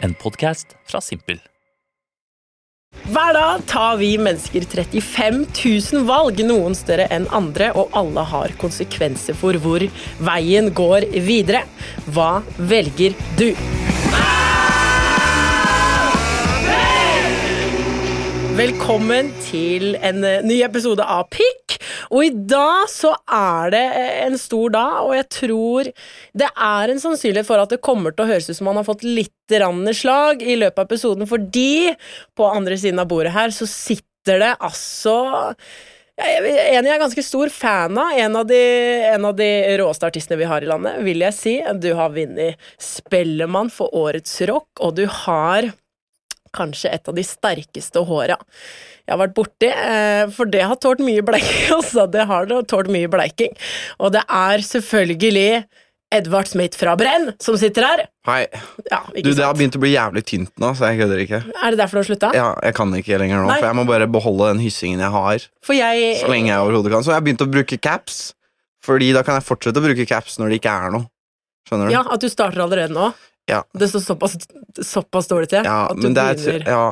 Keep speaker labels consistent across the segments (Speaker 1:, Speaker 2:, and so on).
Speaker 1: En podkast fra Simpel.
Speaker 2: Hver dag tar vi mennesker 35 000 valg, noen større enn andre, og alle har konsekvenser for hvor veien går videre. Hva velger du? Velkommen til en eh, ny episode av Pikk. Og i dag så er det eh, en stor dag, og jeg tror det er en sannsynlighet for at det kommer til å høres ut som man har fått litt grann slag i løpet av episoden, fordi på andre siden av bordet her så sitter det altså jeg, jeg- en jeg er ganske stor fan av, en av, de, en av de råeste artistene vi har i landet, vil jeg si. Du har vunnet Spellemann for årets rock, og du har kanskje et av de sterkeste håra jeg har vært borti, eh, for det har tålt mye bleiking, altså. Det har det tålt mye bleiking. Og det er selvfølgelig Edvard Smith fra Brenn som sitter her.
Speaker 3: Hei.
Speaker 2: Ja,
Speaker 3: Du,
Speaker 2: ikke
Speaker 3: det har
Speaker 2: sant?
Speaker 3: begynt å bli jævlig tynt nå, så jeg kødder ikke.
Speaker 2: Er det derfor du har slutta?
Speaker 3: Ja, jeg kan ikke lenger nå,
Speaker 2: Nei.
Speaker 3: for jeg må bare beholde den hyssingen jeg har.
Speaker 2: For jeg
Speaker 3: Så lenge jeg overhodet kan. Så jeg har begynt å bruke caps, Fordi da kan jeg fortsette å bruke caps når det ikke er noe. Skjønner du?
Speaker 2: Ja, at du starter allerede nå?
Speaker 3: Ja.
Speaker 2: Det står såpass, såpass dårlig til
Speaker 3: Ja,
Speaker 2: at du
Speaker 3: men det er,
Speaker 2: begynner
Speaker 3: ja.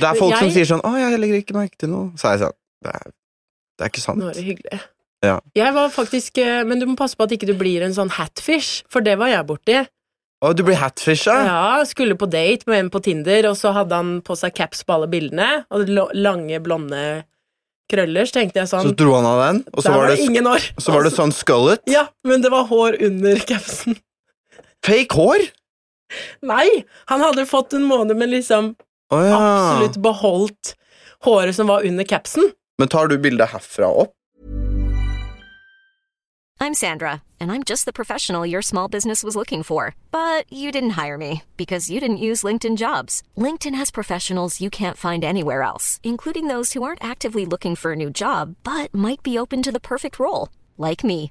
Speaker 3: det er folk som
Speaker 2: Jeg-
Speaker 3: sier sånn 'Å, jeg legger ikke merke til noe', så er jeg sånn Det er, det er ikke sant.
Speaker 2: Nå er det hyggelig.
Speaker 3: Ja.
Speaker 2: Jeg var faktisk, eh, Men du må passe på at ikke du blir en sånn hatfish, for det var jeg borti.
Speaker 3: Å, du blir hatfish, ja?
Speaker 2: Ja, Skulle på date med en på Tinder, og så hadde han på seg caps på alle bildene. Og det lå- lange, blonde krøller, så tenkte jeg sånn
Speaker 3: Så dro han av den, og så
Speaker 2: Der
Speaker 3: var det,
Speaker 2: ingen år!
Speaker 3: så var det sånn skullet.
Speaker 2: Ja, men det var hår under capsen.
Speaker 3: Fake hår!
Speaker 2: Nei! Han hadde fått en måned med liksom
Speaker 3: Å ja.
Speaker 2: absolutt beholdt håret som var under capsen.
Speaker 3: Men tar du bildet herfra opp?
Speaker 4: I'm Sandra, and I'm just the professional your small business was looking for. But you didn't hire me because you didn't use LinkedIn jobs. LinkedIn has professionals you can't find anywhere else, including those who aren't actively looking for a new job but might be open to the perfect role, like me.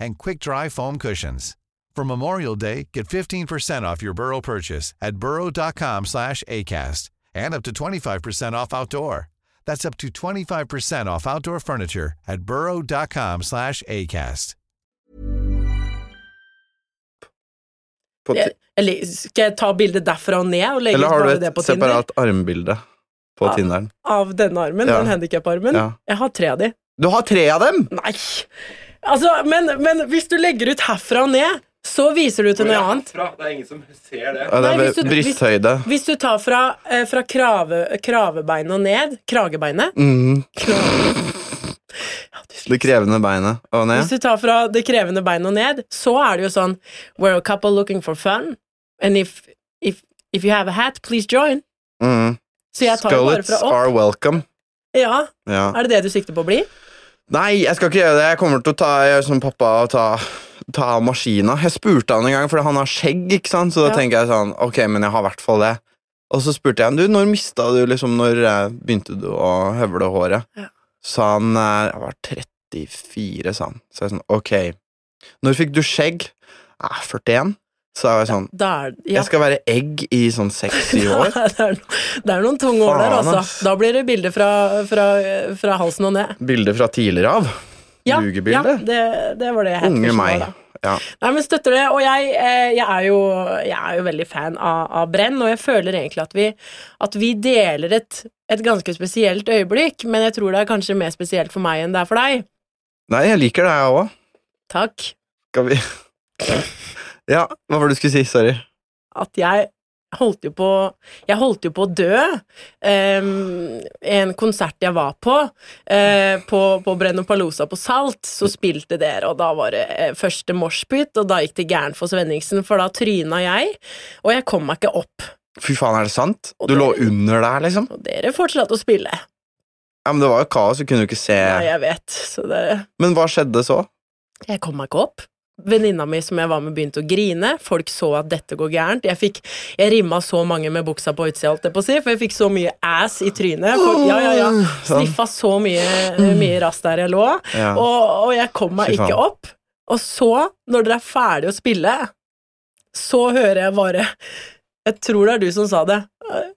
Speaker 5: and quick-dry foam cushions. For Memorial Day, get 15% off your Burrow purchase at burrow.com/acast and up to 25% off outdoor. That's up to 25% off outdoor furniture at burrow.com/acast.
Speaker 3: På ti-
Speaker 2: Jeg, eller skal jeg ta bildet derfra og ned og legge
Speaker 3: Eller
Speaker 2: ut
Speaker 3: har
Speaker 2: bare
Speaker 3: du
Speaker 2: det
Speaker 3: et
Speaker 2: på Tinder?
Speaker 3: separat armbilde på
Speaker 2: Ja.
Speaker 3: Tinderen?
Speaker 2: Av denne armen,
Speaker 3: Ja.
Speaker 2: den handikap-armen?
Speaker 3: Ja.
Speaker 2: Jeg har tre av de.
Speaker 3: Du har tre av dem!
Speaker 2: Nei! Altså, men, men hvis du legger ut herfra og ned, så viser du til noe annet.
Speaker 6: Det er ingen som ser det.
Speaker 3: Ja, det
Speaker 2: Nei,
Speaker 3: er
Speaker 2: hvis du-
Speaker 3: ved brysthøyde.
Speaker 2: Hvis du tar fra, eh, fra krave, kravebeinet og ned, kragebeinet
Speaker 3: Mhm. Det krevende beinet og
Speaker 2: Hvis
Speaker 3: ned.
Speaker 2: du tar fra det krevende beinet og ned, så er det jo sånn We're a couple looking for fun, and if, if, if you have a hat, please join.
Speaker 3: Mhm.
Speaker 2: Så jeg tar jo bare
Speaker 3: Scullets
Speaker 2: fra opp.
Speaker 3: are welcome.
Speaker 2: Ja,
Speaker 3: Ja.
Speaker 2: Er det det du sikter på å bli?
Speaker 3: Nei, jeg skal ikke gjøre det. Jeg kommer til å ta gjøre som pappa og ta, ta av maskina. Jeg spurte han en gang, for han har skjegg, ikke sant? så da
Speaker 2: Ja.
Speaker 3: tenker jeg sånn Ok, men jeg har i hvert fall det. Og så spurte jeg han, du, når mista du liksom Når eh, begynte du å høvle håret?
Speaker 2: Ja.
Speaker 3: Sa han eh, Jeg var 34, sa han. Så jeg sånn, ok. Når fikk du skjegg? Eh, 41. Så jeg var sånn
Speaker 2: Da er, ja.
Speaker 3: Jeg skal være egg i sånn seks-syv
Speaker 2: det,
Speaker 3: år.
Speaker 2: er, no- det er noen tunge år der,
Speaker 3: Faen,
Speaker 2: altså.
Speaker 3: ass.
Speaker 2: Da blir det bilde fra, fra, fra halsen og ned.
Speaker 3: Bilde fra tidligere av.
Speaker 2: Ja, ja
Speaker 3: Lugebilde.
Speaker 2: det, det var det jeg het
Speaker 3: Unge
Speaker 2: først nå,
Speaker 3: meg.
Speaker 2: da.
Speaker 3: Ja.
Speaker 2: Nei, men støtter det. Og jeg, eh, jeg, er, jo, jeg er jo veldig fan av, av Brenn, og jeg føler egentlig at vi, at vi deler et, et ganske spesielt øyeblikk, men jeg tror det er kanskje mer spesielt for meg enn det er for deg.
Speaker 3: Nei, jeg liker det, jeg òg.
Speaker 2: Takk.
Speaker 3: Skal vi Ja, hva var det du skulle si? Sorry.
Speaker 2: At jeg holdt jo på Jeg holdt jo på å dø. Em, en konsert jeg var på, eh, på, på Brennopalosa på Salt, så spilte dere, og da var det eh, første moshpit, og da gikk det gærent for Svenningsen, for da tryna jeg, og jeg kom meg ikke opp.
Speaker 3: Fy faen, er det sant?
Speaker 2: Og
Speaker 3: Du
Speaker 2: det-
Speaker 3: lå under der, liksom?
Speaker 2: Og dere fortsatte å spille.
Speaker 3: Ja, Men det var jo kaos, du kunne jo ikke se
Speaker 2: Ja, jeg vet. Så det,
Speaker 3: Men hva skjedde så?
Speaker 2: jeg kom meg ikke opp. Venninna mi som jeg var med, begynte å grine. Folk så at dette går gærent. Jeg, fikk, jeg rimma så mange med buksa på utsida, holdt jeg på å si, for jeg fikk så mye ass i trynet. Folk, ja, ja, ja. Sniffa så mye, eh, mye rass der jeg lå,
Speaker 3: sånn. Mm. Ja.
Speaker 2: og, og jeg kom meg
Speaker 3: Fy faen.
Speaker 2: ikke opp. Og så, når dere er ferdige å spille, så hører jeg bare Jeg tror det er du som sa det.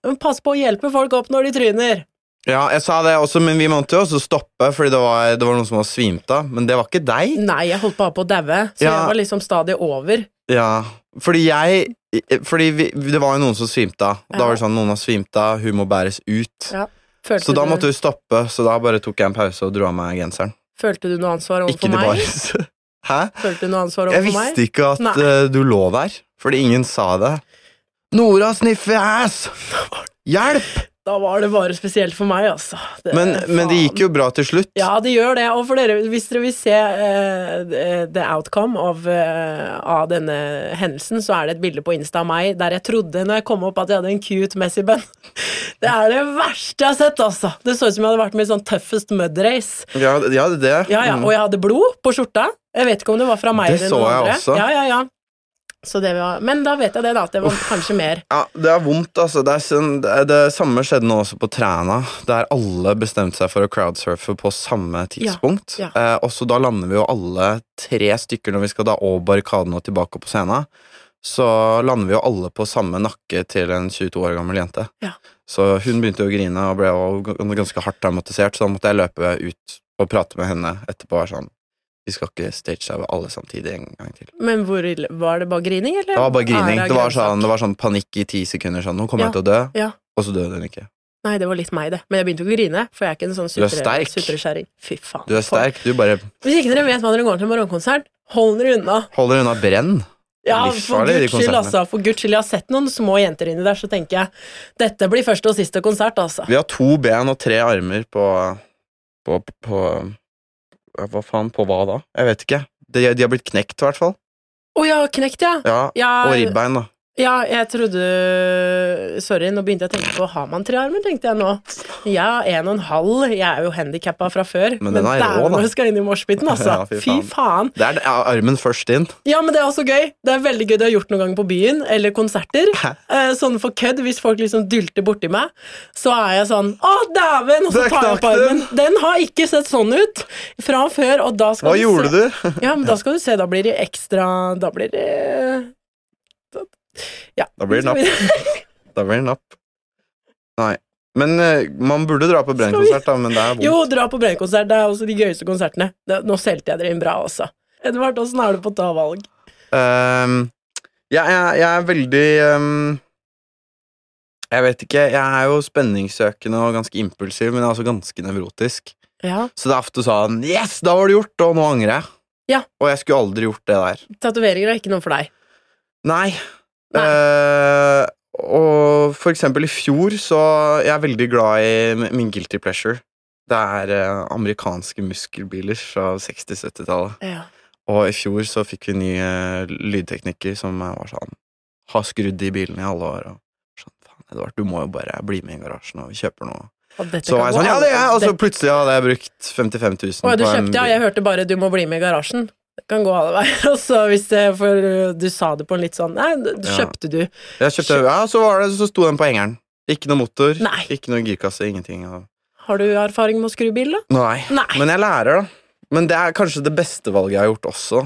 Speaker 2: Men pass på å hjelpe folk opp når de tryner.
Speaker 3: Ja, jeg sa det også, men vi måtte jo også stoppe, fordi det var, det var noen som var svimt av. Men det var ikke deg.
Speaker 2: Nei, jeg holdt bare på å daue, så
Speaker 3: Ja.
Speaker 2: jeg var liksom stadig over.
Speaker 3: Ja, fordi jeg Fordi vi, det var jo noen som svimte av. Da var det sånn, noen har svimt av, hun må bæres ut.
Speaker 2: Ja. Følte
Speaker 3: Så da
Speaker 2: du-
Speaker 3: måtte vi stoppe, så da bare tok jeg en pause og dro av meg genseren.
Speaker 2: Følte du noe ansvar overfor
Speaker 3: Ikke det
Speaker 2: meg?
Speaker 3: bare Hæ?
Speaker 2: Følte du noe ansvar
Speaker 3: Jeg
Speaker 2: overfor meg?
Speaker 3: visste ikke at
Speaker 2: Nei.
Speaker 3: eh, du lå der, fordi ingen sa det. Nora sniffer ass! Hjelp!
Speaker 2: Da var det bare spesielt for meg, altså. Det-
Speaker 3: Men, men det gikk jo bra til slutt.
Speaker 2: Ja, det gjør det. Og for dere, hvis dere vil se eh, the outcome av, eh, av denne hendelsen, så er det et bilde på Insta av meg der jeg trodde når jeg kom opp at jeg hadde en cute Messi-bønn. Det er det verste jeg har sett, altså! Det så ut som jeg hadde vært med i sånn Toughest Mud Race.
Speaker 3: Ja, det- ja, det.
Speaker 2: Ja, ja, Og jeg hadde blod på skjorta. Jeg vet ikke om det var fra meg
Speaker 3: Mm. Det
Speaker 2: eller
Speaker 3: så
Speaker 2: noen
Speaker 3: jeg
Speaker 2: andre.
Speaker 3: også.
Speaker 2: Ja, ja, ja. Så det var, men da vet jeg det, da. At det var kanskje mer.
Speaker 3: Ja, det er vondt, altså. Det, er sånn, det, er- det samme skjedde nå også på Træna, der alle bestemte seg for å crowdsurfe på samme tidspunkt.
Speaker 2: Ja,
Speaker 3: Eh, og så da lander vi jo alle tre stykker når vi skal da over barrikaden og tilbake opp på scenen. Så lander vi jo alle på samme nakke til en 22 år gammel jente.
Speaker 2: Ja.
Speaker 3: Så hun begynte jo å grine og ble jo g- ganske hardt traumatisert, så da måtte jeg løpe ut og prate med henne etterpå og være sånn Vi skal ikke stage-dive alle samtidig en gang til.
Speaker 2: Men hvor, ille- var det bare grining, eller?
Speaker 3: Det var bare grining.
Speaker 2: Er
Speaker 3: Det var,
Speaker 2: grønnsak?
Speaker 3: sånn, det var sånn panikk i ti sekunder. Sånn, 'Nå kommer
Speaker 2: Ja,
Speaker 3: jeg til å dø',
Speaker 2: ja.
Speaker 3: og så døde hun ikke.
Speaker 2: Nei, det var litt meg, det. Men jeg begynte jo ikke å grine, for jeg er ikke en sånn
Speaker 3: Du er
Speaker 2: sutre-
Speaker 3: sterk.
Speaker 2: sutrekjerring. Fy faen.
Speaker 3: Du er sterk. Du bare
Speaker 2: Hvis ikke dere vet hva dere går til morgenkonsert, hold dere unna.
Speaker 3: holder unna brenn.
Speaker 2: Ja, for
Speaker 3: Livsfarlig, de
Speaker 2: guds skyld,
Speaker 3: konsertene.
Speaker 2: altså. For guds skyld, jeg har sett noen små jenter inni der, så tenker jeg dette blir første og siste konsert, altså.
Speaker 3: Vi har to ben og tre armer på På, på ja, Hva faen? På hva da? Jeg vet ikke. De, de har blitt knekt, i hvert fall.
Speaker 2: Å ja, knekt, ja.
Speaker 3: Ja,
Speaker 2: Ja,
Speaker 3: Og ribbein, da.
Speaker 2: ja, jeg trodde Sorry, nå begynte jeg å tenke på har man tre armer, tenkte jeg nå. Ja, en og en halv. Jeg er jo handikappa fra før.
Speaker 3: Men den er rå,
Speaker 2: dæven,
Speaker 3: da.
Speaker 2: når du skal inn i moshpiten, altså.
Speaker 3: Ja, fy
Speaker 2: fy
Speaker 3: faen.
Speaker 2: faen.
Speaker 3: Det er det- ja, armen først inn.
Speaker 2: Ja, men det er også gøy. Det er veldig gøy det jeg har gjort noen gang på byen, eller konserter. Eh, sånn for kødd, hvis folk liksom dylter borti meg, så er jeg sånn Å, dæven! Og så
Speaker 3: Der
Speaker 2: tar jeg opp
Speaker 3: knakk
Speaker 2: armen.
Speaker 3: den.
Speaker 2: Den har ikke sett sånn ut fra før, og da skal
Speaker 3: Hva
Speaker 2: du
Speaker 3: gjorde
Speaker 2: se.
Speaker 3: du?
Speaker 2: Ja, men da skal du se, da blir det ekstra Da blir det da- Ja.
Speaker 3: Da blir det napp. Da blir det napp. Nei. Men eh, man burde dra
Speaker 2: Skal
Speaker 3: på
Speaker 2: vi-
Speaker 3: brennkonsert, da, men det er vondt.
Speaker 2: Jo, dra på Brennkonsert. Det er også de gøyeste konsertene. Det, nå solgte jeg dere inn bra, altså. Edvard, åssen er du på å ta valg?
Speaker 3: Ehm, jeg, jeg, jeg er veldig ehm, Jeg vet ikke. Jeg er jo spenningssøkende og ganske impulsiv, men jeg er også ganske nevrotisk.
Speaker 2: Ja.
Speaker 3: Så det er ofte sånn Yes, da var det gjort! Og nå angrer jeg.
Speaker 2: Ja.
Speaker 3: Og jeg skulle aldri gjort det der.
Speaker 2: Tatoveringer er ikke noe for deg.
Speaker 3: Nei.
Speaker 2: Nei.
Speaker 3: Eh, og for eksempel i fjor så Jeg er veldig glad i min guilty pleasure. Det er eh, amerikanske muskelbiler fra 60-70-tallet.
Speaker 2: Ja.
Speaker 3: Og i fjor så fikk vi ny eh, lydtekniker som eh, var sånn Har skrudd i bilene i alle år. Og sånn, faen Edvard, du må jo bare bli med i garasjen og vi kjøper noe.
Speaker 2: Og dette
Speaker 3: Så
Speaker 2: kan
Speaker 3: var jeg
Speaker 2: gå
Speaker 3: sånn, ja
Speaker 2: an.
Speaker 3: det er jeg Og så
Speaker 2: Dette-
Speaker 3: plutselig hadde jeg brukt 55 000
Speaker 2: Å ja, du
Speaker 3: på en
Speaker 2: kjøpte, ja.
Speaker 3: bil.
Speaker 2: Jeg hørte bare 'du må bli med i garasjen'. Det kan gå alle veier. Og så hvis det, for uh, du sa det på en litt sånn Nei, du- du
Speaker 3: Ja.
Speaker 2: kjøpte du.
Speaker 3: Jeg kjøpte, ja, så var det, så sto den på hengeren. Ikke noe motor,
Speaker 2: Nei.
Speaker 3: ikke noe girkasse, ingenting. Og...
Speaker 2: Har du erfaring med å skru bil, da?
Speaker 3: Nei.
Speaker 2: Nei.
Speaker 3: Men jeg lærer, da. Men det er kanskje det beste valget jeg har gjort også.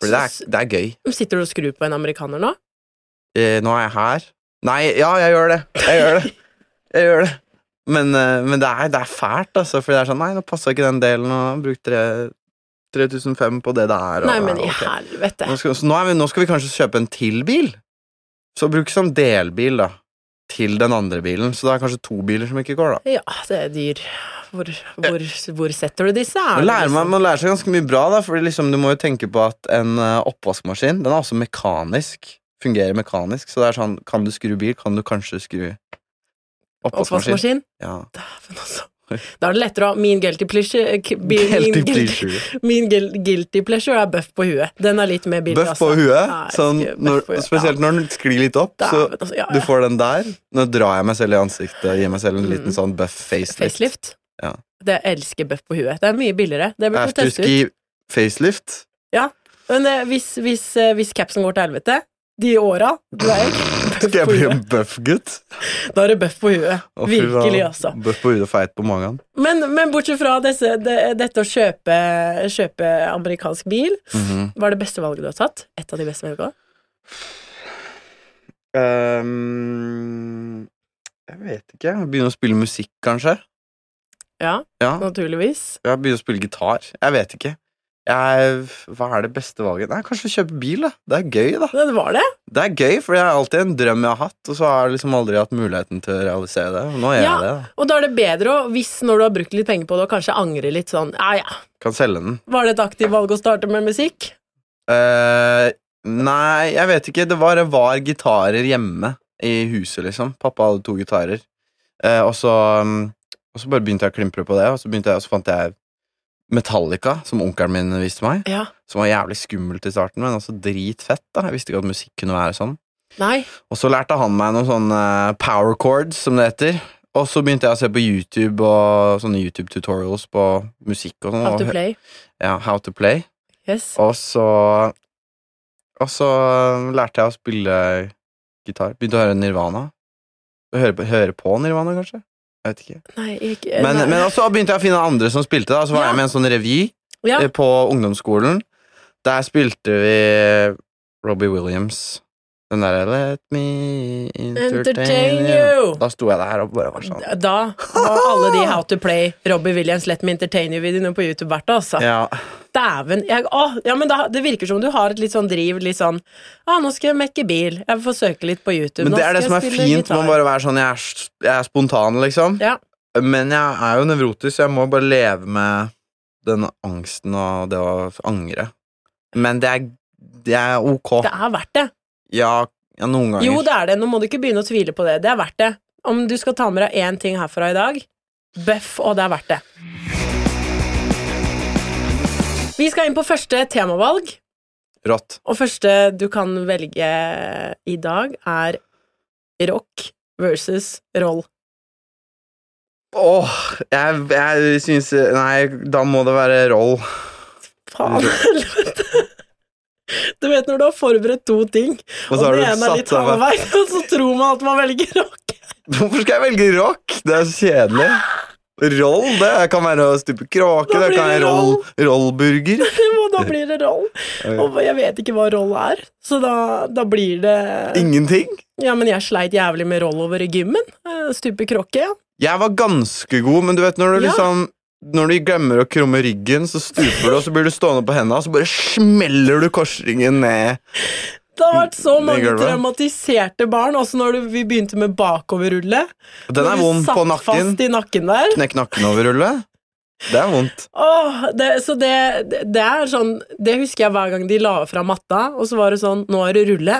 Speaker 3: Fordi det er,
Speaker 2: Så-
Speaker 3: det er gøy.
Speaker 2: Sitter du og skrur på en amerikaner nå?
Speaker 3: Eh, nå er jeg her. Nei, ja, jeg gjør det. Jeg gjør det. Jeg gjør det. Men, eh, men det, er, det er fælt, altså. For det er sånn, nei, nå passa ikke den delen, og brukte tre- 3005 på det det er. Og,
Speaker 2: Nei, men
Speaker 3: ja,
Speaker 2: i
Speaker 3: ok.
Speaker 2: helvete.
Speaker 3: nå skal, så nå, er vi, nå skal vi kanskje kjøpe en til bil. Så bruk som delbil, da. Til den andre bilen. Så det er kanskje to biler som ikke går, da.
Speaker 2: Ja, det er dyr. Hvor, hvor, hvor setter du disse? Er
Speaker 3: Man
Speaker 2: det
Speaker 3: lærer, man,
Speaker 2: liksom-
Speaker 3: man lærer seg ganske mye bra, da, for liksom, du må jo tenke på at en eh, oppvaskmaskin den er også mekanisk. Fungerer mekanisk. Så det er sånn, kan du skru bil, kan du kanskje skru oppvaskmaskin.
Speaker 2: Oppvaskmaskin?
Speaker 3: Ja.
Speaker 2: Dæven, altså. Da er det lettere å ha min guilty pleasure k- bi-
Speaker 3: Guilty
Speaker 2: min guilty-
Speaker 3: pleasure.
Speaker 2: Min guil- guilty pleasure er bøff på huet. Den er litt mer billig.
Speaker 3: Bøff på
Speaker 2: altså.
Speaker 3: huet.
Speaker 2: Nei,
Speaker 3: Sånn,
Speaker 2: bøff
Speaker 3: når,
Speaker 2: på huet,
Speaker 3: spesielt når den sklir litt opp,
Speaker 2: ja.
Speaker 3: så
Speaker 2: Dæven, altså, ja,
Speaker 3: du
Speaker 2: ja.
Speaker 3: får den der. Nå drar jeg meg selv i ansiktet og gir meg selv en liten sånn bøff facelift.
Speaker 2: Mm. Facelift.
Speaker 3: Ja.
Speaker 2: Det jeg elsker bøff på huet. Det er mye billigere. Det burde vi teste ut.
Speaker 3: Afterski facelift.
Speaker 2: Ja. Men eh, hvis, hvis, eh, hvis capsen går til helvete, de åra du er bøff
Speaker 3: Skal jeg
Speaker 2: på
Speaker 3: bli
Speaker 2: huet.
Speaker 3: en bøff-gutt?
Speaker 2: Da er det bøff på huet.
Speaker 3: Å, fy faen.
Speaker 2: Virkelig, altså.
Speaker 3: Bøff på huet og feit på magen.
Speaker 2: Men, men bortsett fra disse, det, dette å kjøpe, kjøpe amerikansk bil, hva er det beste valget du har tatt? Et av de beste valgene?
Speaker 3: Ehm, jeg vet ikke. Begynne å spille musikk, kanskje?
Speaker 2: Ja,
Speaker 3: Ja.
Speaker 2: naturligvis.
Speaker 3: Jeg begynner å spille gitar. Jeg vet ikke. Jeg, hva er det beste valget? Nei, Kanskje å kjøpe bil, da. Det er gøy, da.
Speaker 2: Det var det.
Speaker 3: Det er gøy, for det er alltid en drøm jeg har hatt, og så har jeg liksom aldri hatt muligheten til å realisere det. Og Nå gjør
Speaker 2: Ja.
Speaker 3: jeg det. da.
Speaker 2: Og da er det bedre å, hvis når du har brukt litt penger på det, og kanskje angrer litt sånn Ja, ja,
Speaker 3: Kan selge den.
Speaker 2: var det et aktivt valg å starte med musikk?
Speaker 3: Eh, nei, jeg vet ikke. Det var, det var gitarer hjemme i huset, liksom. Pappa hadde to gitarer. Eh, og, så, mm, og så bare begynte jeg å klimpre på det, og så, begynte jeg, og så fant jeg Metallica, som onkelen min viste meg.
Speaker 2: Ja.
Speaker 3: Som var jævlig skummelt i starten, men også dritfett. da Jeg visste ikke at musikk kunne være sånn.
Speaker 2: Nei.
Speaker 3: Og så lærte han meg noen sånne power chords, som det heter. Og så begynte jeg å se på YouTube og sånne YouTube tutorials på musikk og sånn.
Speaker 2: How to
Speaker 3: og-
Speaker 2: play.
Speaker 3: Ja, how to play.
Speaker 2: Yes.
Speaker 3: Og så Og så um, lærte jeg å spille gitar. Begynte å høre Nirvana. Høre, på- høre på Nirvana, kanskje? Jeg vet ikke.
Speaker 2: Nei, ikke eh,
Speaker 3: Men,
Speaker 2: nei.
Speaker 3: men også begynte jeg å finne andre som spilte. da Så var
Speaker 2: Ja.
Speaker 3: jeg med i en sånn revy
Speaker 2: ja.
Speaker 3: eh, på ungdomsskolen. Der spilte vi Robbie Williams. Den derre Let me entertain
Speaker 2: Entertain
Speaker 3: you.
Speaker 2: you!
Speaker 3: Da sto jeg der og bare var sånn.
Speaker 2: Da var alle de How to play Robbie Williams Let me entertain you-videoene på YouTube verdt det, altså.
Speaker 3: Ja.
Speaker 2: Dæven. Jeg, å, ja, men da, det virker som du har et litt sånn driv, litt sånn ah, 'Nå skal jeg mekke bil. Jeg får søke litt på YouTube.'
Speaker 3: Men
Speaker 2: Nå
Speaker 3: det er
Speaker 2: skal
Speaker 3: det som
Speaker 2: jeg
Speaker 3: er
Speaker 2: spille
Speaker 3: fint med
Speaker 2: gitar.»
Speaker 3: å bare være sånn Jeg er, s- jeg er spontan, liksom.
Speaker 2: ja.
Speaker 3: Men jeg er jo nevrotisk, så jeg må bare leve med den angsten og det å angre. Men det er, det er ok.
Speaker 2: Det er verdt det.
Speaker 3: Ja, ja, noen ganger.
Speaker 2: Jo, det er det. Nå må du ikke begynne å tvile på det. Det er verdt det. Om du skal ta med deg én ting herfra i dag bøff, og det er verdt det. Vi skal inn på første temavalg,
Speaker 3: Rått.
Speaker 2: og første du kan velge i dag, er rock versus roll.
Speaker 3: Åh, jeg, jeg syns Nei, da må det være roll.
Speaker 2: Faen helvete! Du vet når du har forberedt to ting,
Speaker 3: Og
Speaker 2: og,
Speaker 3: så har
Speaker 2: det
Speaker 3: du
Speaker 2: ene er litt
Speaker 3: satt deg-
Speaker 2: halvveis, og så tror man at man velger rock.
Speaker 3: Hvorfor skal jeg velge rock? Det er så kjedelig. Roll, det kan være å stupe kråke,
Speaker 2: Da
Speaker 3: det
Speaker 2: blir
Speaker 3: kan
Speaker 2: det
Speaker 3: være roll, rollburger.
Speaker 2: Og da blir det roll. Og jeg vet ikke hva roll er, så da, da blir det
Speaker 3: Ingenting.
Speaker 2: Ja, men jeg sleit jævlig med rollover i gymmen. Eh, Stupe kråke. ja.
Speaker 3: Jeg var ganske god, men du vet når du
Speaker 2: Ja.
Speaker 3: liksom Når du glemmer å krumme ryggen, så stuper du, og så blir du stående på hendene, og så bare smeller du korsringen ned.
Speaker 2: Det har vært så
Speaker 3: Mm, Det
Speaker 2: mange
Speaker 3: gjør det.
Speaker 2: traumatiserte barn, også når du- vi begynte med bakoverrulle.
Speaker 3: Den
Speaker 2: Når
Speaker 3: er
Speaker 2: du
Speaker 3: vond på
Speaker 2: Satt
Speaker 3: nakken.
Speaker 2: fast i nakken der.
Speaker 3: Knekk nakken over rulle. Det er vondt.
Speaker 2: Åh, det, så det, det- det er sånn Det husker jeg hver gang de la fra matta, og så var det sånn Nå er det rulle.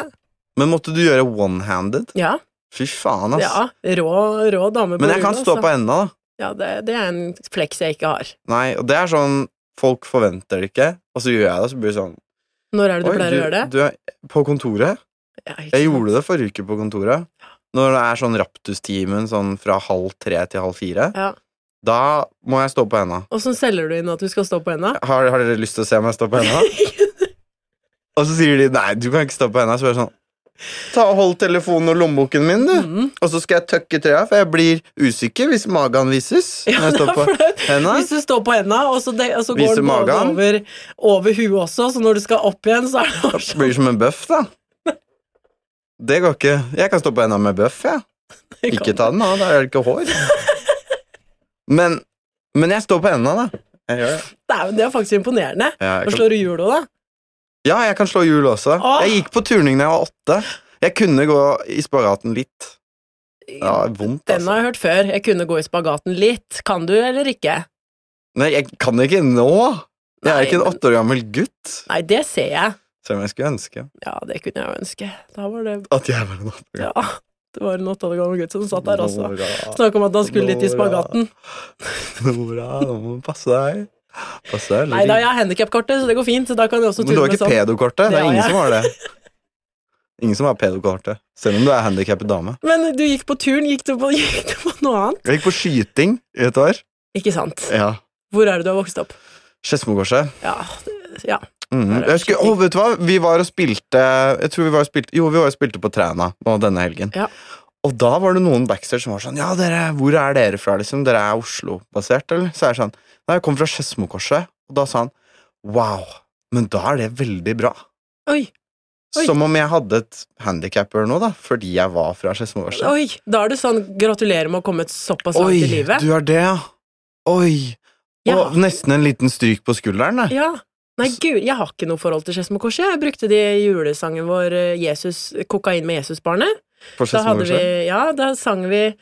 Speaker 3: Men måtte du gjøre one-handed?
Speaker 2: Ja.
Speaker 3: Fy faen, ass.
Speaker 2: ja rå, rå dame på
Speaker 3: Men jeg kan
Speaker 2: rulle,
Speaker 3: stå
Speaker 2: altså.
Speaker 3: på enda, da.
Speaker 2: Ja, det, det er en fleks jeg ikke har.
Speaker 3: Nei, og det er sånn Folk forventer det ikke, og så gjør jeg det, og så blir det sånn
Speaker 2: Når er det du
Speaker 3: «Oi,
Speaker 2: pleier å gjøre det?
Speaker 3: du er på kontoret?
Speaker 2: Ja, ikke
Speaker 3: Jeg
Speaker 2: sant?
Speaker 3: gjorde det forrige uke på kontoret. Når det er sånn raptustimen sånn fra halv tre til halv fire,
Speaker 2: Ja.
Speaker 3: da må jeg stå på henda.
Speaker 2: Åssen selger du inn at du skal stå på henda?
Speaker 3: har, har dere lyst til å se om jeg står på henda? og så sier de nei, du kan ikke stå på henda. Så bare sånn Ta og Hold telefonen og lommeboken min, du. Og så skal jeg tøkke trøya, for jeg blir usikker hvis magen vises. når jeg
Speaker 2: det
Speaker 3: står
Speaker 2: er
Speaker 3: på
Speaker 2: flaut.
Speaker 3: henda.
Speaker 2: Hvis du står på henda, og så, de, og så går
Speaker 3: Viser
Speaker 2: den både
Speaker 3: magen.
Speaker 2: over, over huet også, så når du skal opp igjen, så er det bare
Speaker 3: Blir som en bøff, da. Det går ikke. Jeg kan stå på henda med bøff, jeg.
Speaker 2: sånn
Speaker 3: Ikke ta den av, da er det ikke hår. Men, men jeg står på henda, da. Jeg gjør det.
Speaker 2: Det er, det er faktisk imponerende.
Speaker 3: Ja, jeg
Speaker 2: Hva
Speaker 3: kan-
Speaker 2: slår du hjulet, da?
Speaker 3: Ja, jeg kan slå hjul også.
Speaker 2: Åh!
Speaker 3: Jeg gikk på turning da jeg var åtte. Jeg kunne gå i spagaten litt. Ja, vondt,
Speaker 2: Den
Speaker 3: altså.
Speaker 2: har jeg hørt før. Jeg kunne gå i spagaten litt. Kan du eller ikke?
Speaker 3: Nei, jeg kan det ikke nå. Jeg
Speaker 2: Nei,
Speaker 3: er ikke en
Speaker 2: men-
Speaker 3: åtte år gammel gutt.
Speaker 2: Nei, det ser jeg.
Speaker 3: Selv om jeg skulle ønske
Speaker 2: Ja, det kunne jeg jo ønske. Da var det
Speaker 3: at jeg var en åtte år gammel.
Speaker 2: Ja. Det var en åtte år gammel gutt som satt der også.
Speaker 3: Nora,
Speaker 2: Snakk om at han skulle litt i spagaten.
Speaker 3: Nora, nå må du passe deg. Passe deg.
Speaker 2: Nei da, jeg har handikapkortet, så det går fint. Så da kan jeg også
Speaker 3: Men du
Speaker 2: tulle
Speaker 3: har
Speaker 2: med
Speaker 3: ikke
Speaker 2: sånn.
Speaker 3: pedokortet. Det
Speaker 2: Det
Speaker 3: er
Speaker 2: har
Speaker 3: ingen
Speaker 2: jeg.
Speaker 3: som har det. Ingen som har pedokortet. Selv om du er handikappet dame.
Speaker 2: Men du gikk på turn. Gikk du på, gikk du på noe annet?
Speaker 3: Jeg gikk på skyting i et år.
Speaker 2: Ikke sant.
Speaker 3: Ja.
Speaker 2: Hvor er det du har vokst opp?
Speaker 3: Skedsmokorset.
Speaker 2: Ja, det- ja.
Speaker 3: Mhm. Jeg husker, å, vet du hva? Vi var og spilte Jeg tror vi var og spilte Jo, vi var og spilte på Træna nå denne helgen.
Speaker 2: Ja.
Speaker 3: Og da var det noen backstage som var sånn Ja, dere, hvor er dere fra, liksom? Dere er Oslo-basert, eller? Så er det sånn Nei, jeg kommer fra Skedsmokorset. Og da sa han Wow, men da er det veldig bra.
Speaker 2: Oi, Oi.
Speaker 3: Som om jeg hadde et handikap eller noe, da, fordi jeg var fra Skedsmokorset.
Speaker 2: oi, da er du sånn Gratulerer med å ha kommet såpass langt i livet.
Speaker 3: du er det, ja. Oi.
Speaker 2: Ja.
Speaker 3: Og nesten en liten stryk på skulderen, det.
Speaker 2: Ja. Nei, gud, jeg har ikke noe forhold til Skedsmokorset. Jeg brukte det i julesangen vår eh, Jesus, 'Kokain med Jesusbarnet'.
Speaker 3: På
Speaker 2: Da hadde vi
Speaker 3: Skedsmokorset.
Speaker 2: Ja, da sang vi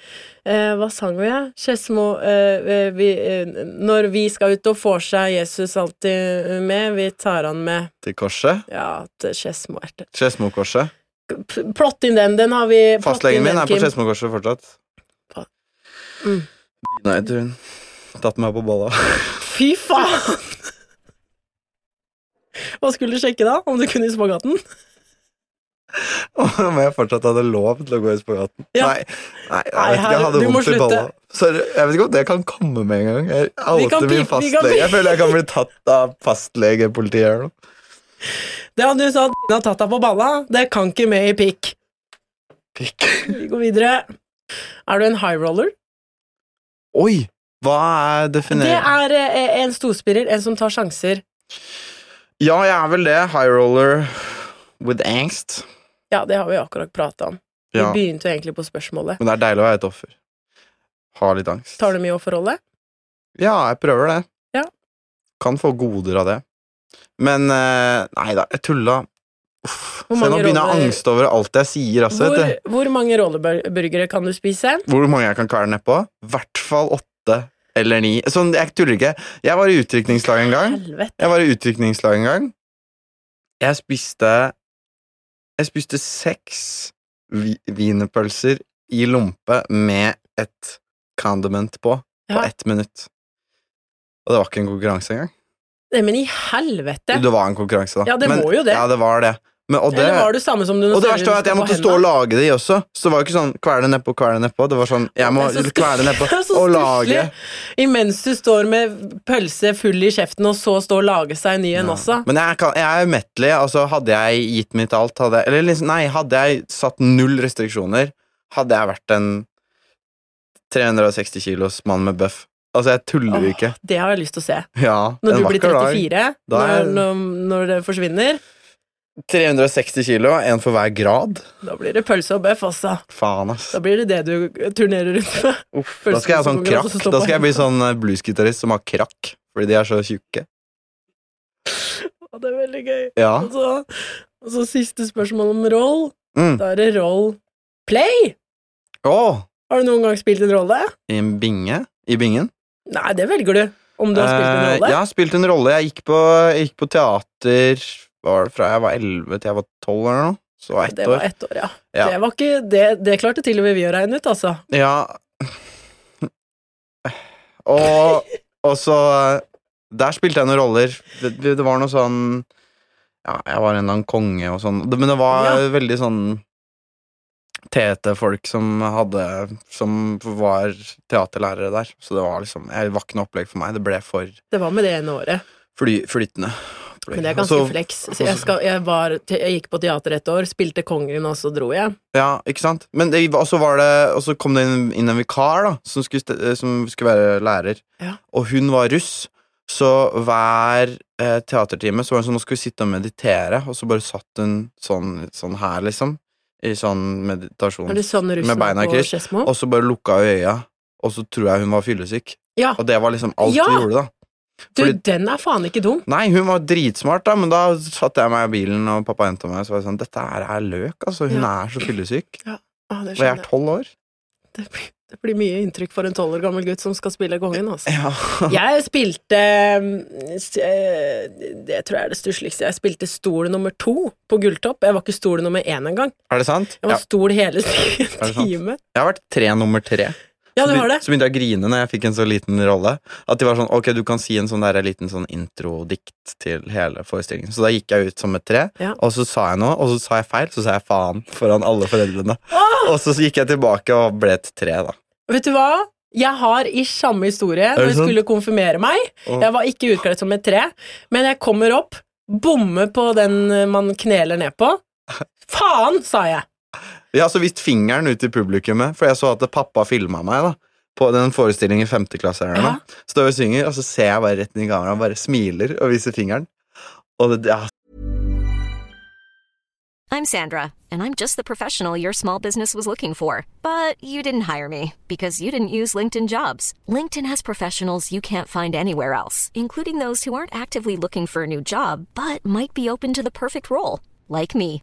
Speaker 2: eh, Hva sang vi, ja? Skedsmo eh, vi, eh, Når vi skal ut og får seg Jesus alltid med, vi tar han med
Speaker 3: Til korset.
Speaker 2: Ja, til Skedsmoerter.
Speaker 3: Skedsmokorset.
Speaker 2: P- Plott inn den, den har vi plott
Speaker 3: Fastlegen
Speaker 2: inn
Speaker 3: min
Speaker 2: den,
Speaker 3: er på
Speaker 2: Kim.
Speaker 3: Skedsmokorset fortsatt.
Speaker 2: Fa- Mm.
Speaker 3: Nei, du Tatt meg på bolla.
Speaker 2: Fy faen! Hva skulle du sjekke da? Om du kunne i spagaten?
Speaker 3: Om jeg fortsatt hadde lov til å gå i spagaten.
Speaker 2: Ja.
Speaker 3: Nei, nei,
Speaker 2: Nei,
Speaker 3: jeg vet ikke, jeg
Speaker 2: herre,
Speaker 3: hadde
Speaker 2: du må
Speaker 3: vondt i
Speaker 2: slutte.
Speaker 3: bolla. Sorry, jeg vet ikke om det kan komme med en gang. Jeg
Speaker 2: Vi kan
Speaker 3: outer min
Speaker 2: pipe, vi kan
Speaker 3: fastlege.
Speaker 2: pipe.
Speaker 3: Jeg føler jeg kan bli tatt av fastlegepolitiet eller noe.
Speaker 2: Det han du sa at Dina har tatt deg på balla, det kan ikke med i pikk.
Speaker 3: Pikk.
Speaker 2: Vi går videre. Er du en high roller?
Speaker 3: Oi! Hva er
Speaker 2: Det
Speaker 3: definert?
Speaker 2: er eh, en storspiller, en som tar sjanser.
Speaker 3: Ja, jeg er vel det. High roller with angst.
Speaker 2: Ja, det har vi akkurat prata om.
Speaker 3: Ja.
Speaker 2: Vi begynte jo egentlig på spørsmålet.
Speaker 3: Men det er deilig å være et offer. Har litt angst.
Speaker 2: Tar du mye å forholde?
Speaker 3: Ja, jeg prøver det.
Speaker 2: Ja.
Speaker 3: Kan få goder av det. Men eh, nei da, jeg tulla. Uff.
Speaker 2: Hvor
Speaker 3: Se, nå
Speaker 2: mange
Speaker 3: begynner jeg å
Speaker 2: roller-
Speaker 3: angste over alt jeg sier. Altså,
Speaker 2: Hvor,
Speaker 3: vet du.
Speaker 2: hvor mange rolleburgere kan du spise?
Speaker 3: Hvor mange jeg kan kvele nedpå? I hvert fall åtte eller ni. Sånn, jeg tuller ikke. Jeg var i utdrikningslag en gang.
Speaker 2: Helvete.
Speaker 3: Jeg var i utdrikningslag en gang. Jeg spiste Jeg spiste seks vi- wienerpølser i lompe med et condiment på, på
Speaker 2: Ja.
Speaker 3: ett minutt. Og det var ikke en konkurranse engang.
Speaker 2: Nei, Eh, men i helvete!
Speaker 3: Det var en konkurranse, da.
Speaker 2: Ja, det
Speaker 3: Men-
Speaker 2: må jo det.
Speaker 3: Ja, det var det. Men, og det,
Speaker 2: Eller var du samme som du
Speaker 3: og det verste var at jeg måtte stå og lage det i også. Så det var jo ikke sånn kvele nedpå, kvele nedpå. Det var sånn jeg må
Speaker 2: Det er så
Speaker 3: kvele nedpå
Speaker 2: Det er så
Speaker 3: og
Speaker 2: stusslig.
Speaker 3: lage.
Speaker 2: Imens du står med pølse full i kjeften, og så står og lager seg en ny en også.
Speaker 3: Men jeg, kan, jeg er umettelig. Altså, hadde jeg gitt mitt alt, hadde jeg Eller liksom, nei, hadde jeg satt null restriksjoner, hadde jeg vært en 360 kilos mann med bøff. Altså, jeg tuller
Speaker 2: Åh,
Speaker 3: ikke.
Speaker 2: det har jeg lyst til å se.
Speaker 3: Ja,
Speaker 2: Når
Speaker 3: en
Speaker 2: du blir
Speaker 3: vakker dag.
Speaker 2: 34,
Speaker 3: Da er-
Speaker 2: når, når, når det forsvinner,
Speaker 3: 360 kilo, én for hver grad.
Speaker 2: da blir det pølse og bøff, altså.
Speaker 3: Faen, ass.
Speaker 2: Da blir det det du turnerer rundt med.
Speaker 3: Uff, da skal jeg ha sånn
Speaker 2: Pølsekonkurranse
Speaker 3: krakk.
Speaker 2: som står
Speaker 3: Da
Speaker 2: på
Speaker 3: skal jeg bli
Speaker 2: hendene.
Speaker 3: sånn eh, bluesgitarist som har krakk, fordi de er så tjukke.
Speaker 2: Å, Det er veldig gøy.
Speaker 3: Ja.
Speaker 2: Og så, og så siste spørsmål om roll.
Speaker 3: Mm.
Speaker 2: Da er det roll play.
Speaker 3: Åh,
Speaker 2: Har du noen gang spilt en rolle?
Speaker 3: I en binge? I bingen?
Speaker 2: Nei, det velger du. Om du har spilt en
Speaker 3: Eh,
Speaker 2: rolle?
Speaker 3: jeg har spilt en rolle. Jeg gikk på, jeg gikk på teater hva var det fra jeg var 11 til jeg var 12 eller noe. Så det var ett
Speaker 2: det var
Speaker 3: år.
Speaker 2: ett år, ja.
Speaker 3: Ja.
Speaker 2: Det, var ikke, det, det klarte til og med vi å regne ut, altså.
Speaker 3: Ja. Og, og så eh, Der spilte jeg noen roller. Det, det det var noe sånn Ja, jeg var en eller annen konge og sånn. Det- Men det var
Speaker 2: Ja.
Speaker 3: veldig sånn Tete-folk som hadde Som var teaterlærere der. Så det var liksom Jeg var ikke noe opplegg for meg. Det ble for
Speaker 2: Det var med det ene året.
Speaker 3: fly, flytende.
Speaker 2: Men det er ganske
Speaker 3: Og så-
Speaker 2: fleks. Så
Speaker 3: også-
Speaker 2: jeg, skal, jeg, var, jeg gikk på teater et år, spilte kongen, og så dro jeg.
Speaker 3: Ja, ikke sant? Men det, og, så var det, og så kom det inn, inn en vikar da, som skulle, st- eh, som skulle være lærer.
Speaker 2: Ja.
Speaker 3: Og hun var russ, så hver eh, teatertime så var det sånn, nå skal vi sitte og meditere, og så bare satt hun sånn, sånn her, liksom, i sånn meditasjon.
Speaker 2: Er det sånn russen
Speaker 3: Med beina
Speaker 2: er
Speaker 3: i
Speaker 2: på
Speaker 3: kryss.
Speaker 2: Skedsmo?
Speaker 3: Og så bare lukka hun øya, og så tror jeg hun var fyllesyk.
Speaker 2: Ja,
Speaker 3: Og det var liksom alt
Speaker 2: Ja!
Speaker 3: hun gjorde da.
Speaker 2: du,
Speaker 3: fordi-
Speaker 2: den er faen ikke dum.
Speaker 3: Nei, hun var dritsmart da, men da satte jeg meg i bilen, og pappa hentet meg, og så var jeg sånn, dette her er løk, altså, hun
Speaker 2: Ja.
Speaker 3: er så fyllesyk.
Speaker 2: Ah, det
Speaker 3: Og jeg er
Speaker 2: skjønner jeg.
Speaker 3: 12 år.
Speaker 2: Det blir, det blir mye inntrykk for en tolv år gammel gutt som skal spille kongen, altså.
Speaker 3: Ja.
Speaker 2: Jeg spilte mm, s- eh, Det tror jeg er det stussligste. Jeg spilte stol nummer to på Gulltopp. Jeg var ikke stol nummer én engang.
Speaker 3: Er det sant?
Speaker 2: Jeg var
Speaker 3: Ja.
Speaker 2: stol hele
Speaker 3: sant?
Speaker 2: timen.
Speaker 3: Jeg har vært tre nummer tre.
Speaker 2: Ja, du
Speaker 3: så,
Speaker 2: har det.
Speaker 3: Så begynte jeg å grine når jeg fikk en så liten rolle. At de var sånn, ok, du kan si en sånn der liten sånn introdikt til hele forestillingen. Så da gikk jeg ut som et tre,
Speaker 2: Ja.
Speaker 3: og så sa jeg noe, og så sa jeg feil, så sa jeg faen foran alle foreldrene. Og så gikk jeg tilbake og ble et tre, da.
Speaker 2: Vet du hva? Jeg har i samme historie
Speaker 3: det
Speaker 2: når jeg
Speaker 3: sant?
Speaker 2: skulle konfirmere meg.
Speaker 3: Åh.
Speaker 2: Jeg var ikke utkledd som et tre, men jeg kommer opp, Bomme på den eh, man kneler ned på. Faen, sa jeg!
Speaker 3: Jeg har så vist fingeren ut i publikummet, for jeg så at pappa filma meg da, på den forestillingen i femte klasse. her nå. Står og synger, og så ser jeg bare rett inn i kameraet og bare smiler og viser fingeren. Og det, ja,
Speaker 4: I'm Sandra, and I'm just the professional your small business was looking for. But you didn't hire me because you didn't use LinkedIn jobs. LinkedIn has professionals you can't find anywhere else, including those who aren't actively looking for a new job but might be open to the perfect role, like me.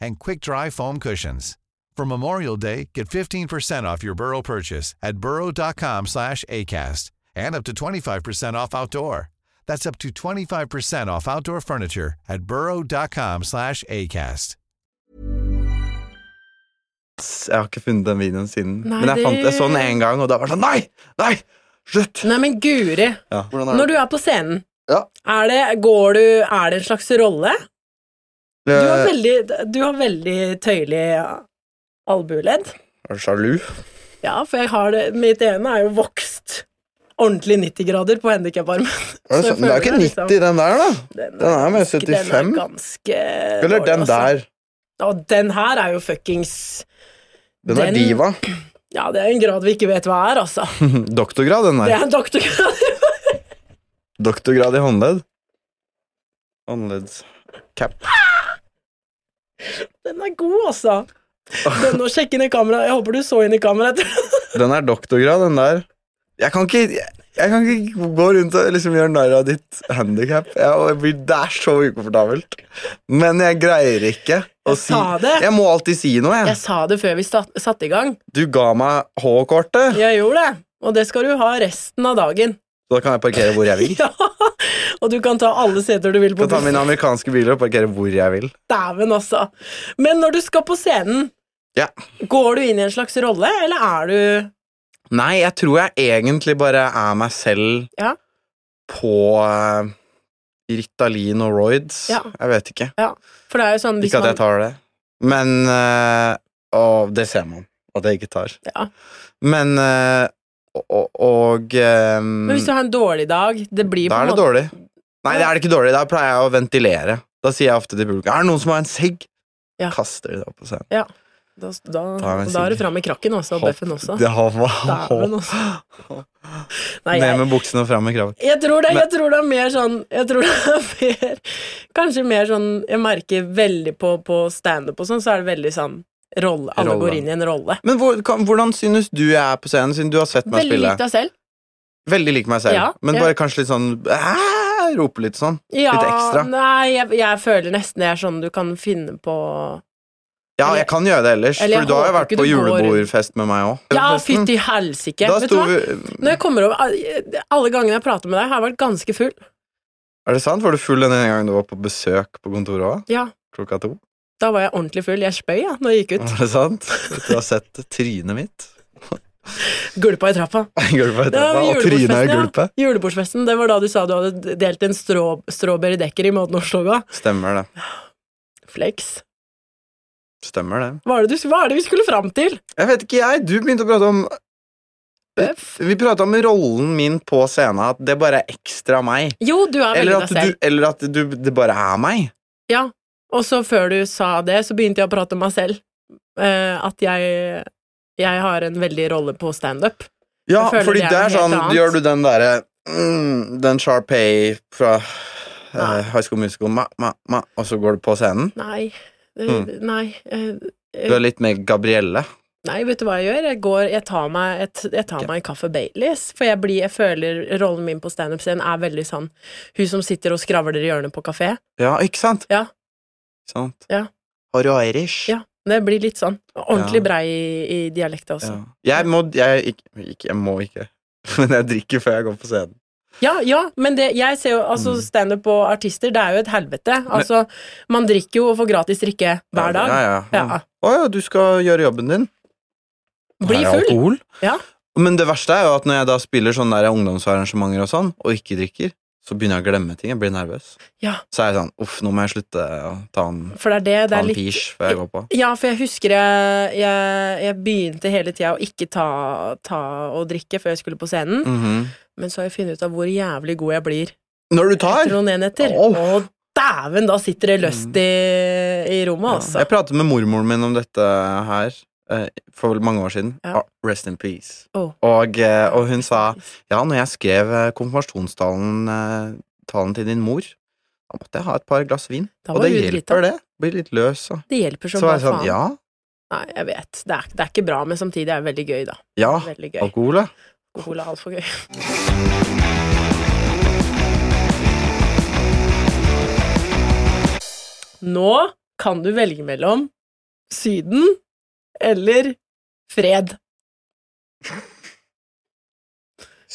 Speaker 5: and quick-dry foam cushions. For Memorial Day, get 15% off your Burrow purchase at burrow.com/acast and up to 25% off outdoor. That's up to 25% off outdoor furniture at burrow.com/acast.
Speaker 3: ass, jeg har ikke funnet den videoen siden.
Speaker 2: Nei,
Speaker 3: Men jeg,
Speaker 2: det-
Speaker 3: fant, jeg så den én gang, og da var det sånn Nei! Nei! Slutt!
Speaker 2: Nei, men guri.
Speaker 3: Ja, sånn hvordan
Speaker 2: Når du er på scenen,
Speaker 3: Ja.
Speaker 2: er det, går du, er det en slags rolle? Du har
Speaker 3: Eh,
Speaker 2: veldig, du har veldig tøyelig eh, albueledd.
Speaker 3: Er du sjalu?
Speaker 2: Ja, for jeg har det Mitt ene er jo vokst ordentlig 90 grader på handikaparmen.
Speaker 3: Er det, sånn? det er jo ikke 90,
Speaker 2: liksom-
Speaker 3: den der, da. Den er med 75.
Speaker 2: Den er ganske
Speaker 3: Eller
Speaker 2: dårlig,
Speaker 3: den
Speaker 2: altså.
Speaker 3: der.
Speaker 2: Og den her er jo fuckings
Speaker 3: Den er
Speaker 2: Den-
Speaker 3: diva.
Speaker 2: Ja, det er en grad vi ikke vet hva er, altså.
Speaker 3: Doktorgrad, den
Speaker 2: Det
Speaker 3: der.
Speaker 2: er en doktorgrad.
Speaker 3: Doktorgrad i håndledd. Håndleddscap.
Speaker 2: Den er god, altså. Den å sjekke inn i kamera Jeg håper du så inn i kameraet.
Speaker 3: Den er doktorgrad, den der. Jeg kan ikke jeg, jeg kan ikke gå rundt og liksom gjøre narr av ditt handikap. Det er så ukomfortabelt. Men jeg greier ikke å
Speaker 2: Jeg
Speaker 3: si
Speaker 2: sa det.
Speaker 3: Jeg må alltid si noe, jeg.
Speaker 2: Jeg sa det før vi stat- satte i gang.
Speaker 3: Du ga meg H-kortet,
Speaker 2: Jeg gjorde det. Og det skal du ha resten av dagen.
Speaker 3: så da kan jeg parkere hvor jeg vil.
Speaker 2: Ja, Og du kan ta alle seter du vil på
Speaker 3: Kan ta
Speaker 2: bussen.
Speaker 3: mine amerikanske biler og parkere hvor jeg vil.
Speaker 2: Dæven, altså. Men når du skal på scenen,
Speaker 3: Ja.
Speaker 2: går du inn i en slags rolle, eller er du
Speaker 3: Nei, jeg tror jeg egentlig bare er meg selv
Speaker 2: Ja.
Speaker 3: på eh, Ritalin og Roids.
Speaker 2: Ja.
Speaker 3: Jeg vet ikke.
Speaker 2: Ja. For det er jo sånn hvis
Speaker 3: Ikke at jeg
Speaker 2: man-
Speaker 3: tar det. Men eh, Og det ser man at jeg ikke tar.
Speaker 2: Ja.
Speaker 3: Men eh, og, og eh,
Speaker 2: Men hvis du har en dårlig dag Det blir på
Speaker 3: Da
Speaker 2: en
Speaker 3: er det
Speaker 2: måte
Speaker 3: dårlig. Nei, det er det ikke dårlig. Da pleier jeg å ventilere. Da sier jeg ofte til publikum Er det noen som har en sigg?
Speaker 2: Ja.
Speaker 3: Kaster de det opp på scenen.
Speaker 2: ja. da, da,
Speaker 3: Da er vi en
Speaker 2: da er
Speaker 3: sikker.
Speaker 2: det fram i krakken også, og
Speaker 3: Hopp.
Speaker 2: bøffen også.
Speaker 3: Det har
Speaker 2: Dæven,
Speaker 3: hva?
Speaker 2: altså. Nei,
Speaker 3: Ned
Speaker 2: jeg,
Speaker 3: med buksene og fram med kraven.
Speaker 2: jeg, tror det, jeg tror det er mer sånn Jeg tror det er mer Kanskje mer sånn Jeg merker veldig på, på standup og sånn, så er det veldig sånn rolle. Alle
Speaker 3: Rolle.
Speaker 2: går inn i en rolle.
Speaker 3: Men hvor, kan, hvordan synes du jeg er på scenen, siden du har sett meg
Speaker 2: Veldig
Speaker 3: spille?
Speaker 2: lik deg selv.
Speaker 3: Veldig lik meg selv,
Speaker 2: Ja,
Speaker 3: men
Speaker 2: ja.
Speaker 3: bare kanskje litt sånn «Æ», Rope litt sånn.
Speaker 2: Ja,
Speaker 3: litt ekstra.
Speaker 2: Nei, jeg, jeg føler nesten det er sånn du kan finne på
Speaker 3: Ja, jeg kan gjøre det ellers,
Speaker 2: Eller jeg
Speaker 3: for du har jo
Speaker 2: håper
Speaker 3: vært
Speaker 2: ikke
Speaker 3: på
Speaker 2: du går rundt.
Speaker 3: julebordfest med meg òg.
Speaker 2: Ja, fytti helsike!
Speaker 3: Da
Speaker 2: Vet du
Speaker 3: sto
Speaker 2: hva?
Speaker 3: vi
Speaker 2: Når jeg kommer over Alle gangene jeg prater med deg, har jeg vært ganske full.
Speaker 3: Er det sant? Var du full den ene gangen du var på besøk på kontoret òg?
Speaker 2: Ja,
Speaker 3: Klokka to?
Speaker 2: da var jeg ordentlig full. Jeg spøy ja, når jeg gikk ut.
Speaker 3: Var det sant? Du har sett trynet mitt
Speaker 2: Gulpa i trappa.
Speaker 3: i gulpet
Speaker 2: Det var
Speaker 3: etterpå, og trynet i
Speaker 2: julebordfesten, ja.
Speaker 3: gulpet.
Speaker 2: Julebordfesten, det var da du sa du hadde delt en strå, strawberry-dekker i Matnorsktoga.
Speaker 3: Stemmer det.
Speaker 2: Flex.
Speaker 3: Stemmer det.
Speaker 2: Hva er, det du, hva er det vi skulle fram til?
Speaker 3: Jeg vet ikke, jeg. Du begynte å prate om
Speaker 2: Bøff?
Speaker 3: Vi prata om rollen min på scenen, at det bare er ekstra meg.
Speaker 2: Jo, du er veldig
Speaker 3: Eller at,
Speaker 2: deg selv.
Speaker 3: du, eller at du, det bare er meg.
Speaker 2: Ja. Og så før du sa det, så begynte jeg å prate om meg selv. Eh, at jeg, jeg har en veldig rolle på standup.
Speaker 3: Ja,
Speaker 2: Jeg føler
Speaker 3: fordi
Speaker 2: det er noe
Speaker 3: det er
Speaker 2: helt
Speaker 3: sånn
Speaker 2: annet.
Speaker 3: Gjør du den derre mm, Den Sharpay fra eh, High School Musical, ma, ma, ma, og så går du på scenen?
Speaker 2: Nei. eh,
Speaker 3: Mm.
Speaker 2: Nei. eh,
Speaker 3: Du er litt mer Gabrielle.
Speaker 2: Nei, vet du hva jeg gjør? Jeg går, jeg tar meg, jeg, t- jeg tar meg en kaffe Baileys, for jeg blir, jeg føler rollen min på stand-up-scenen er veldig sånn, hun som sitter og skravler i hjørnet på kafé.
Speaker 3: Ja, ikke sant?
Speaker 2: Ja.
Speaker 3: Ikke sant?
Speaker 2: Ja.
Speaker 3: Har du irish?
Speaker 2: Ja, det blir litt sånn, ordentlig
Speaker 3: Ja.
Speaker 2: brei i, i dialektet også.
Speaker 3: Ja. Jeg må jeg, ikke, ikke, jeg må ikke, men jeg drikker før jeg går på scenen.
Speaker 2: Ja, ja, men det, jeg ser jo
Speaker 3: Mm.
Speaker 2: altså standup og artister, det er jo et helvete. Altså, man drikker jo og får gratis drikke hver dag.
Speaker 3: Ja, ja.
Speaker 2: Ja.
Speaker 3: ja. Å ja, du skal gjøre jobben din.
Speaker 2: Bli
Speaker 3: Her er
Speaker 2: full.
Speaker 3: alkohol.
Speaker 2: Ja.
Speaker 3: Men det verste er jo at når jeg da spiller sånne der ungdomsarrangementer og sånn, og ikke drikker, så begynner jeg å glemme ting. Jeg blir nervøs.
Speaker 2: Ja.
Speaker 3: Så er jeg sånn Uff, nå må jeg slutte å ta en,
Speaker 2: For det er det, det
Speaker 3: ta
Speaker 2: er
Speaker 3: en
Speaker 2: litt
Speaker 3: pige før jeg går på.
Speaker 2: Ja, for jeg husker jeg, jeg, jeg begynte hele tida å ikke ta, ta og drikke før jeg skulle på scenen,
Speaker 3: Mhm.
Speaker 2: men så har jeg funnet ut av hvor jævlig god jeg blir
Speaker 3: Når du tar!
Speaker 2: etter noen enheter.
Speaker 3: Åh. Mm.
Speaker 2: Og dæven, da sitter det løst i, i rommet, altså.
Speaker 3: Jeg pratet med mormoren min om dette her eh, for mange år siden.
Speaker 2: Ja.
Speaker 3: Ah, Rest in peace.
Speaker 2: Åh.
Speaker 3: Og, eh, og hun sa ja, når jeg skrev eh, konfirmasjonstalen eh, talen til din mor, da måtte jeg ha et par glass vin.
Speaker 2: Da
Speaker 3: Og
Speaker 2: var
Speaker 3: det
Speaker 2: hun drita.
Speaker 3: hjelper, det. Blir litt løs og
Speaker 2: Det hjelper
Speaker 3: Så
Speaker 2: som bare
Speaker 3: var jeg sånn
Speaker 2: faen.
Speaker 3: ja,
Speaker 2: Nei, jeg vet. Det er, det er ikke bra, men samtidig er det veldig gøy, da.
Speaker 3: ja,
Speaker 2: Veldig gøy.
Speaker 3: alkohol, ja.
Speaker 2: Alkohol er altfor gøy. Nå kan du velge mellom Syden eller fred.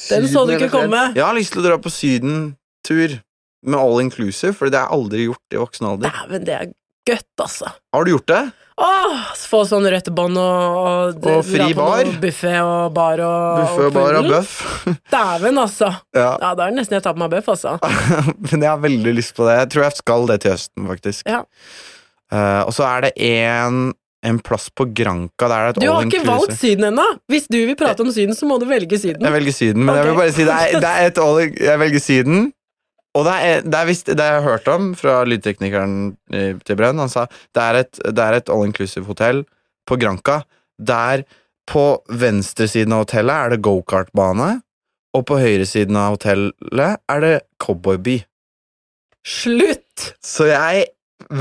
Speaker 2: Den så du ikke komme.
Speaker 3: Jeg har lyst til å dra på sydentur med all inclusive, for det har jeg aldri gjort i voksen alder.
Speaker 2: Dæven, det er godt, altså.
Speaker 3: Har du gjort det?
Speaker 2: Åh, få sånn rødt bånd og, og,
Speaker 3: Og fri bar.
Speaker 2: Buffé og bar og
Speaker 3: Buffe,
Speaker 2: og
Speaker 3: bar og
Speaker 2: pudel.
Speaker 3: bøff?
Speaker 2: Dæven, altså.
Speaker 3: ja.
Speaker 2: Ja, da er det nesten jeg tar på meg bøff, altså.
Speaker 3: Men jeg har veldig lyst på det. Jeg tror jeg skal det til høsten, faktisk.
Speaker 2: Ja.
Speaker 3: Eh, og så er det en, en plass på Granca. Der er det et
Speaker 2: Du har
Speaker 3: all
Speaker 2: ikke
Speaker 3: inclusive.
Speaker 2: valgt Syden ennå! Hvis du vil prate om Syden, så må du velge Syden.
Speaker 3: Jeg velger Syden, men jeg vil
Speaker 2: Ok.
Speaker 3: bare si det er, det er et all Jeg velger Syden. Og det er, det er visst, det jeg har hørt om fra lydteknikeren eh, til Brønn, han sa det er et, det er et all inclusive hotell på Granca der på venstresiden av hotellet er det gokartbane, og på høyresiden av hotellet er det cowboyby.
Speaker 2: Slutt!
Speaker 3: Så jeg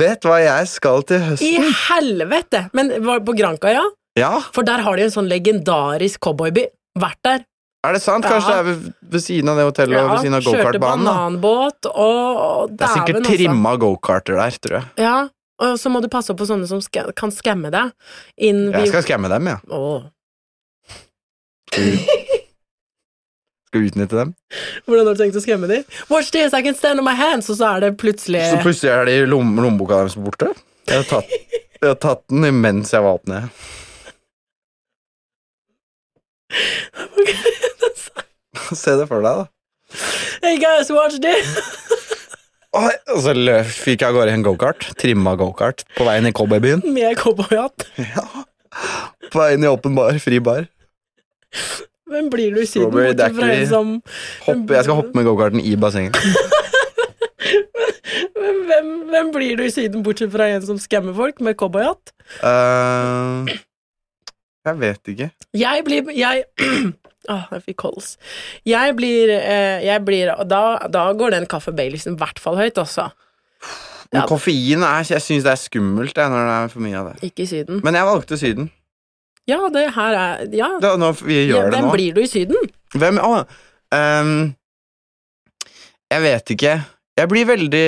Speaker 3: vet hva jeg skal til
Speaker 2: I
Speaker 3: høsten.
Speaker 2: helvete! Men var det på Granca, ja?
Speaker 3: Ja,
Speaker 2: For der har de en sånn legendarisk cowboyby. Vært der.
Speaker 3: er det sant? Kanskje
Speaker 2: Ja.
Speaker 3: det er ved, ved siden av det hotellet
Speaker 2: Ja,
Speaker 3: og ved siden av
Speaker 2: kjørte
Speaker 3: gokartbanen. da.
Speaker 2: bananbåt og og
Speaker 3: Det er
Speaker 2: dæven,
Speaker 3: sikkert
Speaker 2: altså.
Speaker 3: trimma gokarter der, tror jeg.
Speaker 2: Ja, og så må du passe opp på sånne som ska kan skamme deg. Inn
Speaker 3: Jeg skal skamme dem, ja.
Speaker 2: Åh,
Speaker 3: Skal utnytte dem.
Speaker 2: Hvordan har du tenkt å skremme dem? Watch this, I can stand on my hands! Og så er det plutselig
Speaker 3: Så plutselig er det i lom lommeboka deres borte. Jeg har tatt, jeg har tatt den imens jeg var opp ned. Se det for deg, da.
Speaker 2: Hey guys, watch this!
Speaker 3: Oi, Og så lø- fikk jeg av gårde i en gokart. Trimma gokart på veien i cowboybyen.
Speaker 2: Med cowboyhatt.
Speaker 3: På veien i åpen bar, fri bar.
Speaker 2: Hvem blir du i Syden?
Speaker 3: Strawberry
Speaker 2: Bortsett fra
Speaker 3: daiquiri.
Speaker 2: en som
Speaker 3: Hopp, jeg skal hoppe med gokarten i bassenget.
Speaker 2: Men hvem, hvem blir du i Syden bortsett fra en som skammer folk med cowboyhatt?
Speaker 3: Eh, jeg vet ikke.
Speaker 2: Jeg blir Jeg Åh, jeg fikk kols. Jeg blir, eh, jeg blir da, da går den kaffe Baileysen i hvert fall høyt, altså.
Speaker 3: Men
Speaker 2: Ja.
Speaker 3: koffein er, jeg syns det er skummelt jeg, når det er for mye av det.
Speaker 2: Ikke i Syden.
Speaker 3: Men jeg valgte Syden.
Speaker 2: Ja, det her er Ja,
Speaker 3: Da, nå, vi
Speaker 2: ja
Speaker 3: gjør det
Speaker 2: hvem
Speaker 3: nå.
Speaker 2: blir du i Syden?
Speaker 3: Hvem Å! ehm, jeg vet ikke. Jeg blir veldig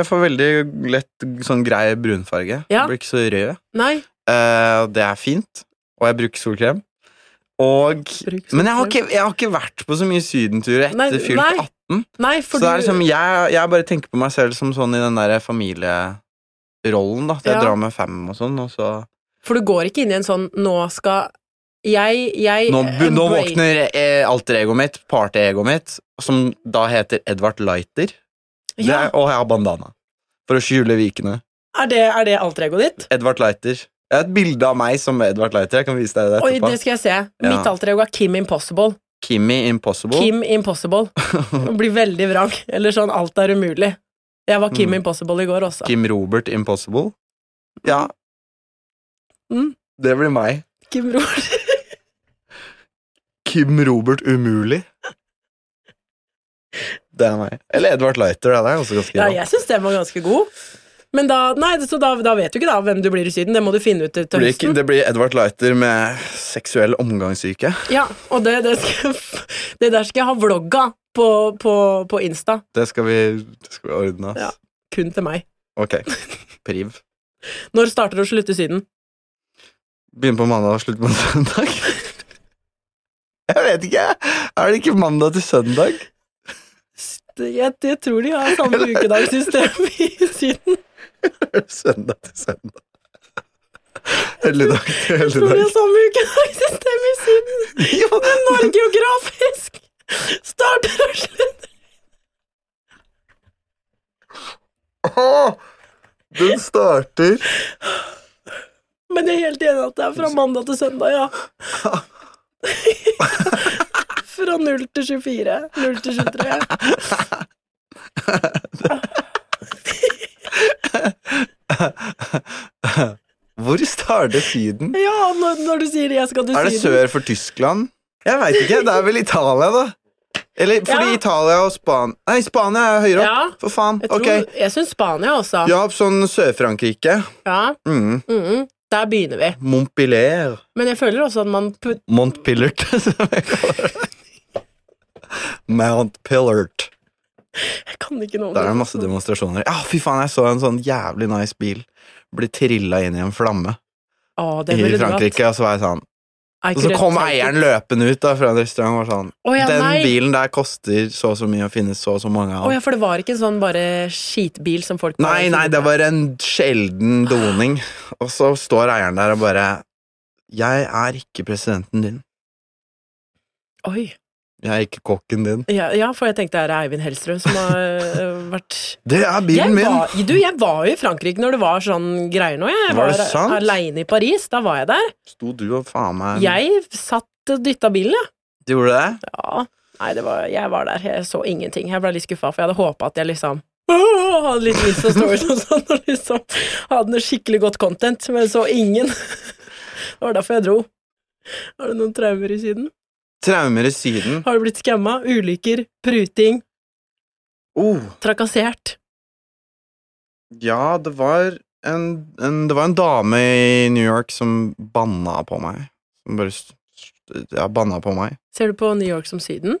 Speaker 3: Jeg får veldig lett sånn grei brunfarge.
Speaker 2: Ja.
Speaker 3: Jeg blir ikke så rød.
Speaker 2: Nei.
Speaker 3: Eh, og det er fint. Og jeg bruker solkrem. Og
Speaker 2: Bruk
Speaker 3: Men jeg har,
Speaker 2: solkrem.
Speaker 3: ikke, jeg har ikke vært på så mye sydenturer etter
Speaker 2: Nei,
Speaker 3: fylt
Speaker 2: nei,
Speaker 3: 18.
Speaker 2: Nei, for
Speaker 3: så det er liksom,
Speaker 2: du
Speaker 3: jeg, jeg bare tenker på meg selv som sånn i den der familierollen, da. At jeg
Speaker 2: Ja.
Speaker 3: drar med fem og sånn, og så
Speaker 2: For du går ikke inn i en sånn Nå skal Jeg, jeg
Speaker 3: Nå, bu- nå
Speaker 2: embrace-
Speaker 3: våkner eh, alter egoet mitt, party-egoet mitt, som da heter Edvard Lighter. Det
Speaker 2: ja,
Speaker 3: er, og jeg har bandana. For å skjule vikene.
Speaker 2: er, det, er det alter egoet ditt?
Speaker 3: Edvard Lighter. Jeg har et bilde av meg som Edvard Lighter. Jeg kan vise deg det
Speaker 2: Oi,
Speaker 3: etterpå.
Speaker 2: det skal jeg se. Mitt alter ego er Kim Impossible.
Speaker 3: Kimmy Impossible.
Speaker 2: Kim Impossible. Det blir veldig vrang. Eller sånn alt er umulig. Jeg var Kim
Speaker 3: Mm.
Speaker 2: Impossible i går også. Kim,
Speaker 3: Kim Robert Impossible. Ja.
Speaker 2: Mm.
Speaker 3: Det blir meg.
Speaker 2: Robert.
Speaker 3: Kim Robert Umulig. Det er meg. Eller Edvard Lighter. Det er også ganske
Speaker 2: Ja,
Speaker 3: bra.
Speaker 2: jeg syns den var ganske god. Men da, nei, så da, da vet du ikke da hvem du blir i Syden. Det må du finne ut eh, til
Speaker 3: Det blir, ikke,
Speaker 2: høsten.
Speaker 3: det blir Edvard Lighter med seksuell omgangssyke.
Speaker 2: Ja, og det, det, skal, det der skal jeg ha vlogga på, på, på Insta.
Speaker 3: Det skal vi, det skal vi ordne. ass.
Speaker 2: Ja. Kun til meg.
Speaker 3: Ok. Priv.
Speaker 2: Når starter og slutter Syden?
Speaker 3: Begynne på mandag og slutte på søndag? Jeg vet ikke. Er det ikke mandag til søndag?
Speaker 2: jeg, jeg tror de har samme ukedagssystem i Syden.
Speaker 3: Søndag til søndag. Helligdag til
Speaker 2: Jeg tror de
Speaker 3: helligdag.
Speaker 2: har samme ukedagssystem i Syden.
Speaker 3: Jo,
Speaker 2: Men Norge geografisk starter og slutter.
Speaker 3: Åh, den starter
Speaker 2: Men jeg er helt enig at det er fra mandag til søndag, ja. Fra 0 til 24. 0 til 23.
Speaker 3: Hvor starter Syden?
Speaker 2: Ja, når, når du sier 'jeg skal til
Speaker 3: Er det
Speaker 2: Syden'.
Speaker 3: sør for Tyskland? Jeg veit ikke. Det er vel Italia, da. Eller fordi
Speaker 2: Ja.
Speaker 3: Italia og Span... Nei, Spania er høyere opp.
Speaker 2: Ja.
Speaker 3: For faen.
Speaker 2: Jeg, tror-
Speaker 3: Ok.
Speaker 2: jeg syns Spania også.
Speaker 3: Ja, sånn Sør-Frankrike.
Speaker 2: Ja,
Speaker 3: Mm.
Speaker 2: mhm. Der begynner vi.
Speaker 3: Montpellier.
Speaker 2: Men jeg føler også at man put,
Speaker 3: Montpillert, som jeg kaller det. Mount Pillart.
Speaker 2: Jeg kan ikke noe om
Speaker 3: Der er det masse demonstrasjoner. Ja, fy faen, jeg så en sånn jævlig nice bil bli trilla inn i en flamme
Speaker 2: Å, det
Speaker 3: i
Speaker 2: ville du hatt.
Speaker 3: Frankrike. Og så var jeg sånn
Speaker 2: Er
Speaker 3: Og
Speaker 2: ikke
Speaker 3: så
Speaker 2: det
Speaker 3: kom
Speaker 2: sant?
Speaker 3: eieren løpende ut da fra en restaurant og var sånn
Speaker 2: Å, ja,
Speaker 3: Den
Speaker 2: nei.
Speaker 3: bilen der koster så og så mye og finnes så og så mange av.
Speaker 2: Å ja, for det var ikke en sånn bare skitbil som folk sånn-
Speaker 3: Nei, nei, det var en sjelden doning. Og så står eieren der og bare Jeg er ikke presidenten din.
Speaker 2: Oi.
Speaker 3: Jeg er ikke kokken din.
Speaker 2: Ja, ja, for jeg tenkte det er Eivind Hellstrøm som har øh, vært
Speaker 3: Det er
Speaker 2: jeg
Speaker 3: bilen min!
Speaker 2: var, du, jeg var jo i Frankrike når det var sånn greier nå. Jeg
Speaker 3: Var
Speaker 2: var,
Speaker 3: det sant?
Speaker 2: aleine i Paris. Da var jeg der.
Speaker 3: Sto du og faen meg
Speaker 2: Jeg satt og dytta bilen, jeg.
Speaker 3: Du Gjorde det?
Speaker 2: Ja. Nei, det var, jeg var der. Jeg så ingenting. Jeg ble litt skuffa, for jeg hadde håpa at jeg liksom «Åh», hadde litt lyst til stories og sånn, og liksom hadde noe skikkelig godt content, men jeg så ingen. Det var derfor jeg dro. Har du noen traumer i Syden?
Speaker 3: Traumer i Syden.
Speaker 2: Har du blitt skamma? Ulykker? Pruting?
Speaker 3: Oh,
Speaker 2: Trakassert?
Speaker 3: ja, det var en, en Det var en dame i New York som banna på meg. Som bare s- s- Ja, banna på meg.
Speaker 2: Ser du på New York som Syden?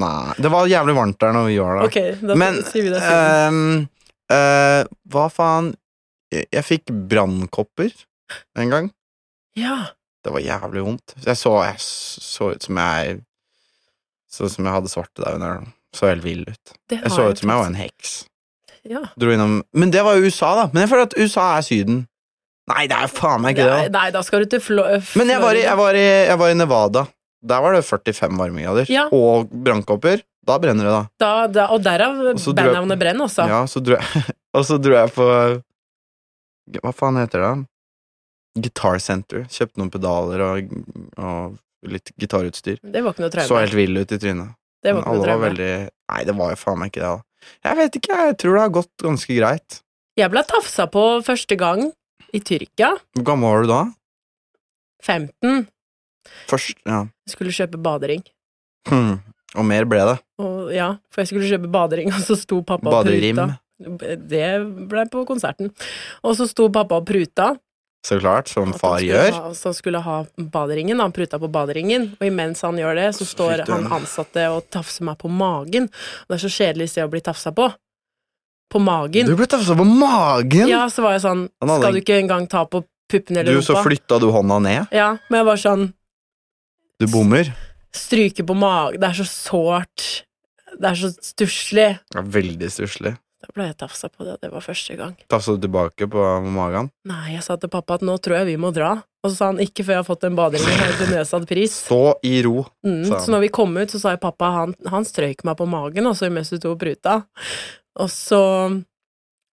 Speaker 3: Nei Det var jævlig varmt der når vi var der.
Speaker 2: Ok, da
Speaker 3: Men
Speaker 2: sier vi det Syden.
Speaker 3: ehm, eh, hva faen Jeg, jeg fikk brannkopper en gang.
Speaker 2: ja.
Speaker 3: Det var jævlig vondt. Jeg så, jeg s- så ut som jeg Så ut som jeg hadde svartedauden eller noe. Så helt vill ut.
Speaker 2: Det
Speaker 3: Jeg
Speaker 2: har
Speaker 3: så ut som jeg var en
Speaker 2: faktisk.
Speaker 3: heks.
Speaker 2: ja.
Speaker 3: Dro innom Men det var jo USA, da. Men jeg føler at USA er Syden. Nei, det er faen meg ikke det.
Speaker 2: Nei,
Speaker 3: da.
Speaker 2: nei, da skal du til Flo... eh,
Speaker 3: Men jeg var, i, jeg, var i, jeg var i Nevada. Der var det 45 varmegrader.
Speaker 2: Ja.
Speaker 3: Og brannkopper. Da brenner det, da.
Speaker 2: da, da, Og derav
Speaker 3: Og så dro jeg-
Speaker 2: bandnavnet Brenn altså. også.
Speaker 3: Ja, så dro jeg Og så dro jeg på Hva faen heter det? da? Guitar Center. Kjøpte noen pedaler og, og litt gitarutstyr.
Speaker 2: Det var ikke noe traume.
Speaker 3: Så helt vill ut i trynet.
Speaker 2: Det
Speaker 3: Men
Speaker 2: var ikke noe
Speaker 3: alle var
Speaker 2: traume.
Speaker 3: veldig Nei, det var jo faen meg ikke det, da. Jeg vet ikke, jeg tror det har gått ganske greit.
Speaker 2: Jeg ble tafsa på første gang i Tyrkia,
Speaker 3: Hvor gammel var du da?
Speaker 2: 15.
Speaker 3: Først, ja.
Speaker 2: Jeg skulle kjøpe badering.
Speaker 3: Hm. Og mer ble det.
Speaker 2: Og, ja, for jeg skulle kjøpe badering, og så sto pappa
Speaker 3: Baderim.
Speaker 2: og pruta. Det ble på konserten. Og så sto pappa og pruta.
Speaker 3: Så klart, som
Speaker 2: at
Speaker 3: far
Speaker 2: han skulle
Speaker 3: gjør.
Speaker 2: Ha, så han skulle ha baderingen, han pruta på baderingen, og imens han gjør det, så
Speaker 3: Så
Speaker 2: står
Speaker 3: fikk du
Speaker 2: han
Speaker 3: en-
Speaker 2: ansatte og tafser meg på magen. Og det er så kjedelig sted å bli tafsa på. På magen.
Speaker 3: Du ble tafsa på magen!
Speaker 2: Ja, så var jeg sånn,
Speaker 3: Han hadde
Speaker 2: skal
Speaker 3: en-
Speaker 2: du ikke engang ta på puppene
Speaker 3: du,
Speaker 2: eller
Speaker 3: så
Speaker 2: rumpa?
Speaker 3: flytta du hånda ned.
Speaker 2: Ja, men jeg var sånn,
Speaker 3: Du bommer.
Speaker 2: stryke på magen, det er så sårt, det er så stusslig.
Speaker 3: Det er veldig stusslig.
Speaker 2: Da ble jeg tafsa på det, det var første gang.
Speaker 3: Tafsa du tilbake på magen?
Speaker 2: Nei, jeg sa til pappa at nå tror jeg vi må dra. Og så sa han ikke før jeg har fått en badering helt til nedsatt pris.
Speaker 3: Stå i ro,
Speaker 2: Mm,
Speaker 3: sa
Speaker 2: så når vi kom ut, så sa jeg pappa han, han strøyk meg på magen også mens du tok pruta. Og så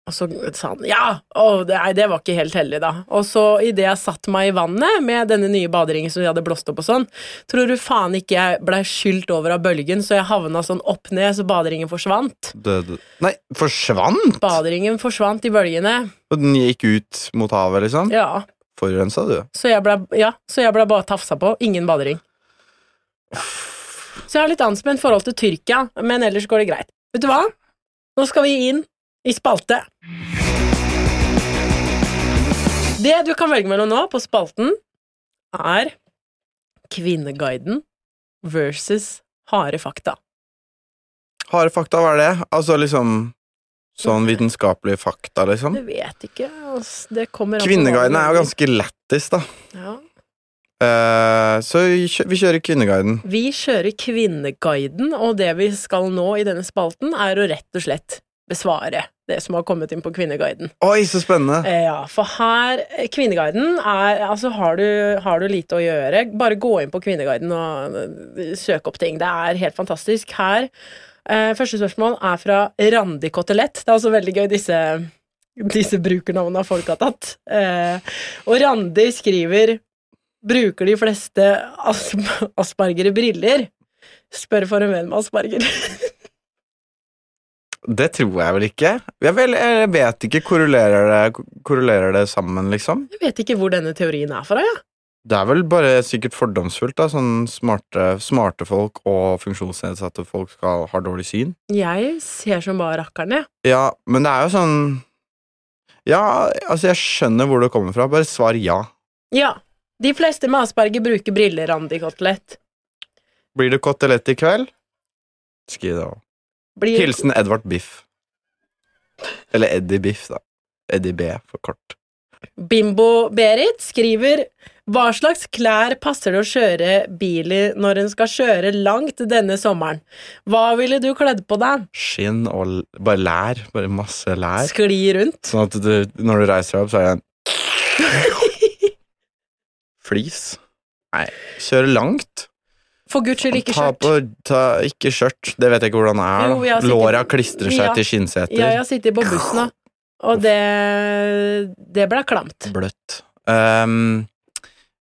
Speaker 2: og så sa han ja! Å, det, nei, det var ikke helt heldig, da. Og så idet jeg satte meg i vannet med denne nye baderingen som vi hadde blåst opp og sånn, tror du faen ikke jeg blei skylt over av bølgen, så jeg havna sånn opp ned, så baderingen forsvant.
Speaker 3: Døde Nei, forsvant?
Speaker 2: Baderingen forsvant i bølgene.
Speaker 3: Og den gikk ut mot havet, liksom?
Speaker 2: Ja.
Speaker 3: Forurensa, du.
Speaker 2: Så jeg blei ja, så jeg ble bare tafsa på. Ingen badering. Så jeg har litt anspent forhold til Tyrkia, men ellers går det greit. Vet du hva? Nå skal vi inn i spalte. Det du kan velge mellom nå på spalten, er Kvinneguiden versus harde fakta.
Speaker 3: Harde fakta, hva er det? Altså liksom
Speaker 2: Mm.
Speaker 3: sånn vitenskapelige fakta, liksom?
Speaker 2: Det vet ikke. ass. Det kommer an på hva
Speaker 3: Kvinneguiden
Speaker 2: du
Speaker 3: er jo
Speaker 2: velger.
Speaker 3: ganske lættis, da.
Speaker 2: ja.
Speaker 3: Eh, så kjø vi kjører Kvinneguiden.
Speaker 2: Vi kjører Kvinneguiden, og det vi skal nå i denne spalten, er å rett og slett besvare det som har kommet inn på Kvinneguiden.
Speaker 3: Oi, så spennende!
Speaker 2: Eh, Ja, for her eh, Kvinneguiden er Altså, har du, har du lite å gjøre, bare gå inn på Kvinneguiden og eh, søk opp ting. Det er helt fantastisk. Her eh, Første spørsmål er fra Randi Kotelett. Det er også veldig gøy, disse, disse brukernavnene folk har tatt. Eh, og Randi skriver Bruker de fleste as asperger i briller? Spør for en venn med asperger.
Speaker 3: Det tror jeg vel ikke. Jeg, vel, jeg vet ikke. Korrelerer det, korrelerer det sammen, liksom?
Speaker 2: Jeg vet ikke hvor denne teorien er fra, jeg.
Speaker 3: Det er vel bare sikkert fordomsfullt, da. Sånn smarte, smarte folk og funksjonsnedsatte folk skal, har dårlig syn.
Speaker 2: Jeg ser som bare rakkeren, jeg.
Speaker 3: Ja, men det er jo sånn Ja, altså, jeg skjønner hvor det kommer fra. Bare svar ja.
Speaker 2: Ja. De fleste med asperger bruker briller, Randi Kotelett.
Speaker 3: Blir det kotelett i kveld? Skriv det òg.
Speaker 2: Blir-
Speaker 3: Hilsen Edvard Biff. Eller Eddie Biff, da. Eddie B, for kort.
Speaker 2: Bimbo-Berit skriver Hva slags klær passer det å kjøre bil i når en skal kjøre langt denne sommeren? Hva ville du kledd på deg?
Speaker 3: Skinn og l bare lær. Bare masse lær.
Speaker 2: Skli rundt?
Speaker 3: Sånn at du, når du reiser deg opp, så er det en Flis. Nei, kjøre langt.
Speaker 2: For guds skyld, ikke
Speaker 3: ta
Speaker 2: skjørt.
Speaker 3: på ta, Ikke skjørt. Det vet jeg ikke hvordan det er.
Speaker 2: Jo, jeg har
Speaker 3: da
Speaker 2: sikkert-
Speaker 3: Låra klistrer seg
Speaker 2: Ja.
Speaker 3: til skinnseter.
Speaker 2: Ja, jeg har sittet på bussen, da. Og det Det ble klamt.
Speaker 3: Bløtt. Um,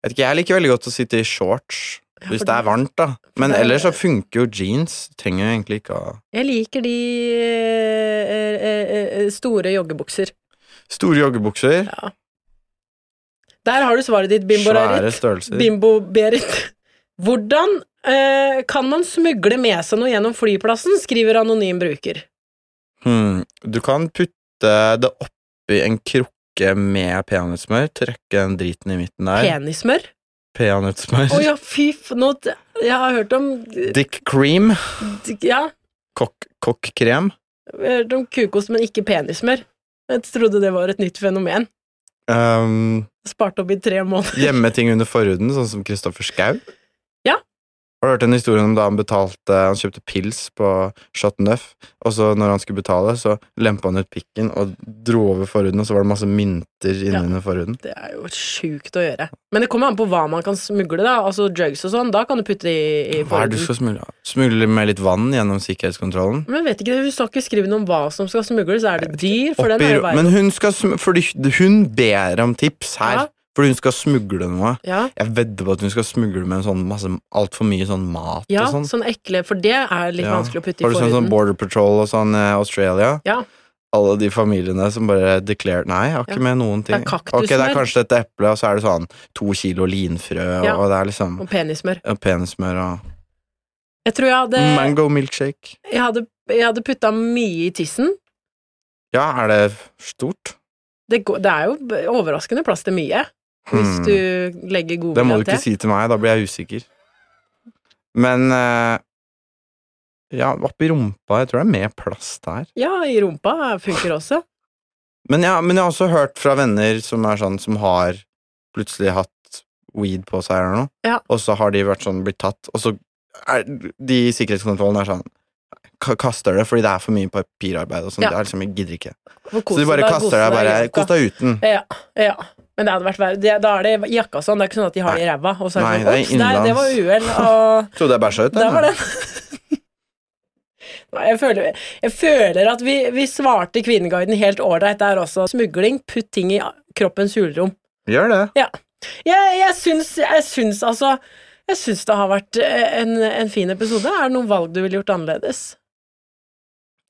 Speaker 3: vet ikke, jeg liker veldig godt å sitte i shorts. Hvis
Speaker 2: for
Speaker 3: det er
Speaker 2: det-
Speaker 3: varmt, da. Men
Speaker 2: det-
Speaker 3: ellers så funker jo jeans. Trenger jo egentlig ikke å
Speaker 2: Jeg liker de eh, eh, eh, store joggebukser.
Speaker 3: Store joggebukser.
Speaker 2: Der har du svaret ditt, Bimbo-Rarit.
Speaker 3: svære størrelser.
Speaker 2: Bimbo-Berit. Hvordan eh, kan man smugle med seg noe gjennom flyplassen, skriver anonym bruker.
Speaker 3: Hmm. Du kan putte det oppi en krukke med peanøttsmør. Trykke den driten i midten der.
Speaker 2: Penissmør?
Speaker 3: Peanøttsmør.
Speaker 2: Å ja, fy f... Nå, t- jeg har hørt om
Speaker 3: Dick cream.
Speaker 2: Ja,
Speaker 3: Kokk- Kokkrem.
Speaker 2: jeg har hørt om kukost, men ikke penissmør. Jeg trodde det var et nytt fenomen.
Speaker 3: Um,
Speaker 2: Spart opp i tre måneder.
Speaker 3: gjemme ting under forhuden, sånn som Kristoffer Schau.
Speaker 2: Ja.
Speaker 3: Har du hørt en historie om da han betalte Han kjøpte pils på Chat Neuf, og så når han skulle betale, så lempa han ut pikken og dro over forhuden, og så var det masse mynter
Speaker 2: Ja.
Speaker 3: innunder forhuden.
Speaker 2: Det er jo sjukt å gjøre. Men det kommer an på hva man kan smugle, da. Altså drugs og sånn. Da kan du putte det i, i
Speaker 3: Hva er det du skal smugle? Smugle med litt vann gjennom sikkerhetskontrollen?
Speaker 2: Men jeg vet ikke, Hun står ikke skrevet om hva som skal smugles. Er det dyr? For den
Speaker 3: Oppi
Speaker 2: er jo
Speaker 3: ro-
Speaker 2: bare
Speaker 3: men hun skal sm fordi hun ber om tips her,
Speaker 2: Ja.
Speaker 3: fordi hun skal smugle noe.
Speaker 2: Ja.
Speaker 3: Jeg vedder på at hun skal smugle med en sånn masse altfor mye sånn mat
Speaker 2: Ja,
Speaker 3: og
Speaker 2: sånn.
Speaker 3: sånn.
Speaker 2: ekle, for det er litt
Speaker 3: Ja.
Speaker 2: vanskelig å putte i
Speaker 3: Har du sånn,
Speaker 2: forhuden.
Speaker 3: sånn Border Patrol og sånn eh, Australia?
Speaker 2: ja,
Speaker 3: Alle de familiene som bare declared Nei, jeg har ikke
Speaker 2: Ja.
Speaker 3: med noen ting.
Speaker 2: Det er kaktusmør.
Speaker 3: ok, det er kanskje et eple, og så er det sånn to kilo linfrø,
Speaker 2: Ja.
Speaker 3: og det er liksom
Speaker 2: og penissmør.
Speaker 3: og penismør og
Speaker 2: Jeg tror jeg hadde,
Speaker 3: Mango milkshake.
Speaker 2: jeg hadde, jeg hadde putta mye i tissen.
Speaker 3: Ja, er det stort?
Speaker 2: Det, går, det er jo b- overraskende plass til mye, hvis
Speaker 3: Hmm.
Speaker 2: du legger god
Speaker 3: Det må du
Speaker 2: vilje
Speaker 3: ikke si til meg, da blir jeg usikker. Men eh, Ja, oppi rumpa. Jeg tror det er mer plass der.
Speaker 2: Ja, i rumpa funker også.
Speaker 3: Men, ja, men jeg har også hørt fra venner som er sånn som har plutselig hatt weed på seg eller noe,
Speaker 2: Ja.
Speaker 3: og så har de vært sånn blitt tatt, og så er de i sikkerhetskontrollen er sånn ka- Kaster det fordi det er for mye papirarbeid og sånn.
Speaker 2: Ja.
Speaker 3: Det er liksom, jeg gidder ikke.
Speaker 2: Hvor
Speaker 3: Så
Speaker 2: kos
Speaker 3: de bare
Speaker 2: deg- kos
Speaker 3: kaster deg
Speaker 2: i
Speaker 3: bare
Speaker 2: jakka.
Speaker 3: Kos deg uten.
Speaker 2: Ja, ja. Men det hadde vært verre. Det- Da er det i jakka og sånn, det er ikke sånn at de har det i ræva. Og så er det
Speaker 3: Nei, det er
Speaker 2: sånn, Ops, nei, det var uhell,
Speaker 3: innenlands."
Speaker 2: og
Speaker 3: Trodde jeg bæsja ut,
Speaker 2: Der var
Speaker 3: eller?
Speaker 2: den. Nei, jeg føler, jeg føler at vi, vi svarte Kvinneguiden helt ålreit der også. Smugling, putt ting i kroppens hulrom.
Speaker 3: Gjør det.
Speaker 2: Ja. Jeg, jeg, syns, jeg syns altså Jeg syns det har vært eh, en, en fin episode. Er det noen valg du ville gjort annerledes?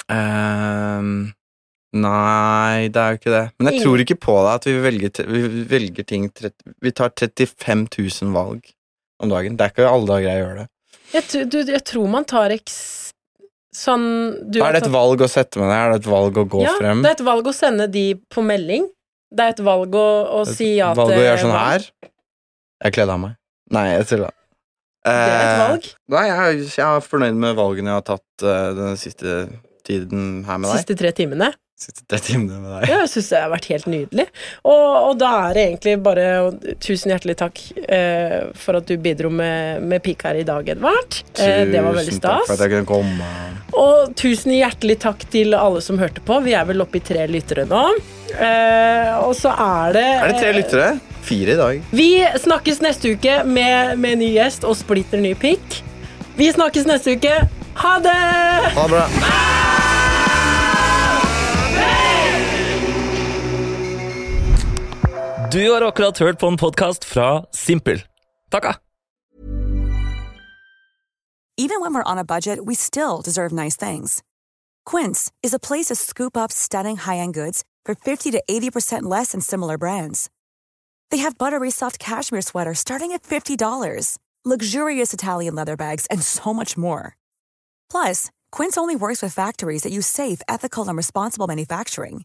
Speaker 3: Ehm, nei, det er jo ikke det. Men jeg
Speaker 2: Ingen.
Speaker 3: tror ikke på det at vi velger, te- vi velger ting trett- Vi tar 35 000 valg om dagen. Det er ikke alle dager jeg gjør det.
Speaker 2: Jeg, tr- du, jeg tror man tar eks... Sånn du har
Speaker 3: er det et
Speaker 2: tatt-
Speaker 3: valg å sette meg ned? Er det et valg å gå
Speaker 2: ja,
Speaker 3: frem?
Speaker 2: Det er et valg å sende de på melding. Det er et valg å, å
Speaker 3: Et
Speaker 2: si ja til
Speaker 3: valg å gjøre sånn
Speaker 2: valg.
Speaker 3: her? Jeg kledde av meg. Nei, jeg tulla.
Speaker 2: Det er et
Speaker 3: Eh,
Speaker 2: valg.
Speaker 3: Nei, jeg, er- jeg er fornøyd med valgene jeg har tatt eh, den siste tiden her med deg.
Speaker 2: Siste tre timene.
Speaker 3: Siste, Sitte tre timer med deg.
Speaker 2: Ja, jeg syns det har vært helt nydelig. Og, og da er det egentlig bare å- tusen hjertelig takk eh, for at du bidro med, med pikk her i dag, Edvard. Eh, det var veldig
Speaker 3: Tusen takk
Speaker 2: stas. Eh.
Speaker 3: for at jeg kunne komme.
Speaker 2: Og tusen hjertelig takk til alle som hørte på. Vi er vel oppe i tre lyttere nå. Eh, og så er det eh,
Speaker 3: Er det tre lyttere? Fire i dag.
Speaker 2: Vi snakkes neste uke med, med ny gjest og splitter ny pikk. Vi snakkes neste uke. Ha det!
Speaker 3: Ha det bra.
Speaker 1: Du har akkurat hørt på en podkast fra Simpel. ah. Takka!
Speaker 6: Even when we're on a budget, we still deserve nice things. Quince is a place to scoop up stunning high-end goods for 50 to 80% less than similar brands. They have buttery soft cashmere sweaters starting at $50, luxurious Italian leather bags, and so much more. Plus, Quince only works with factories that use safe, ethical, and responsible manufacturing.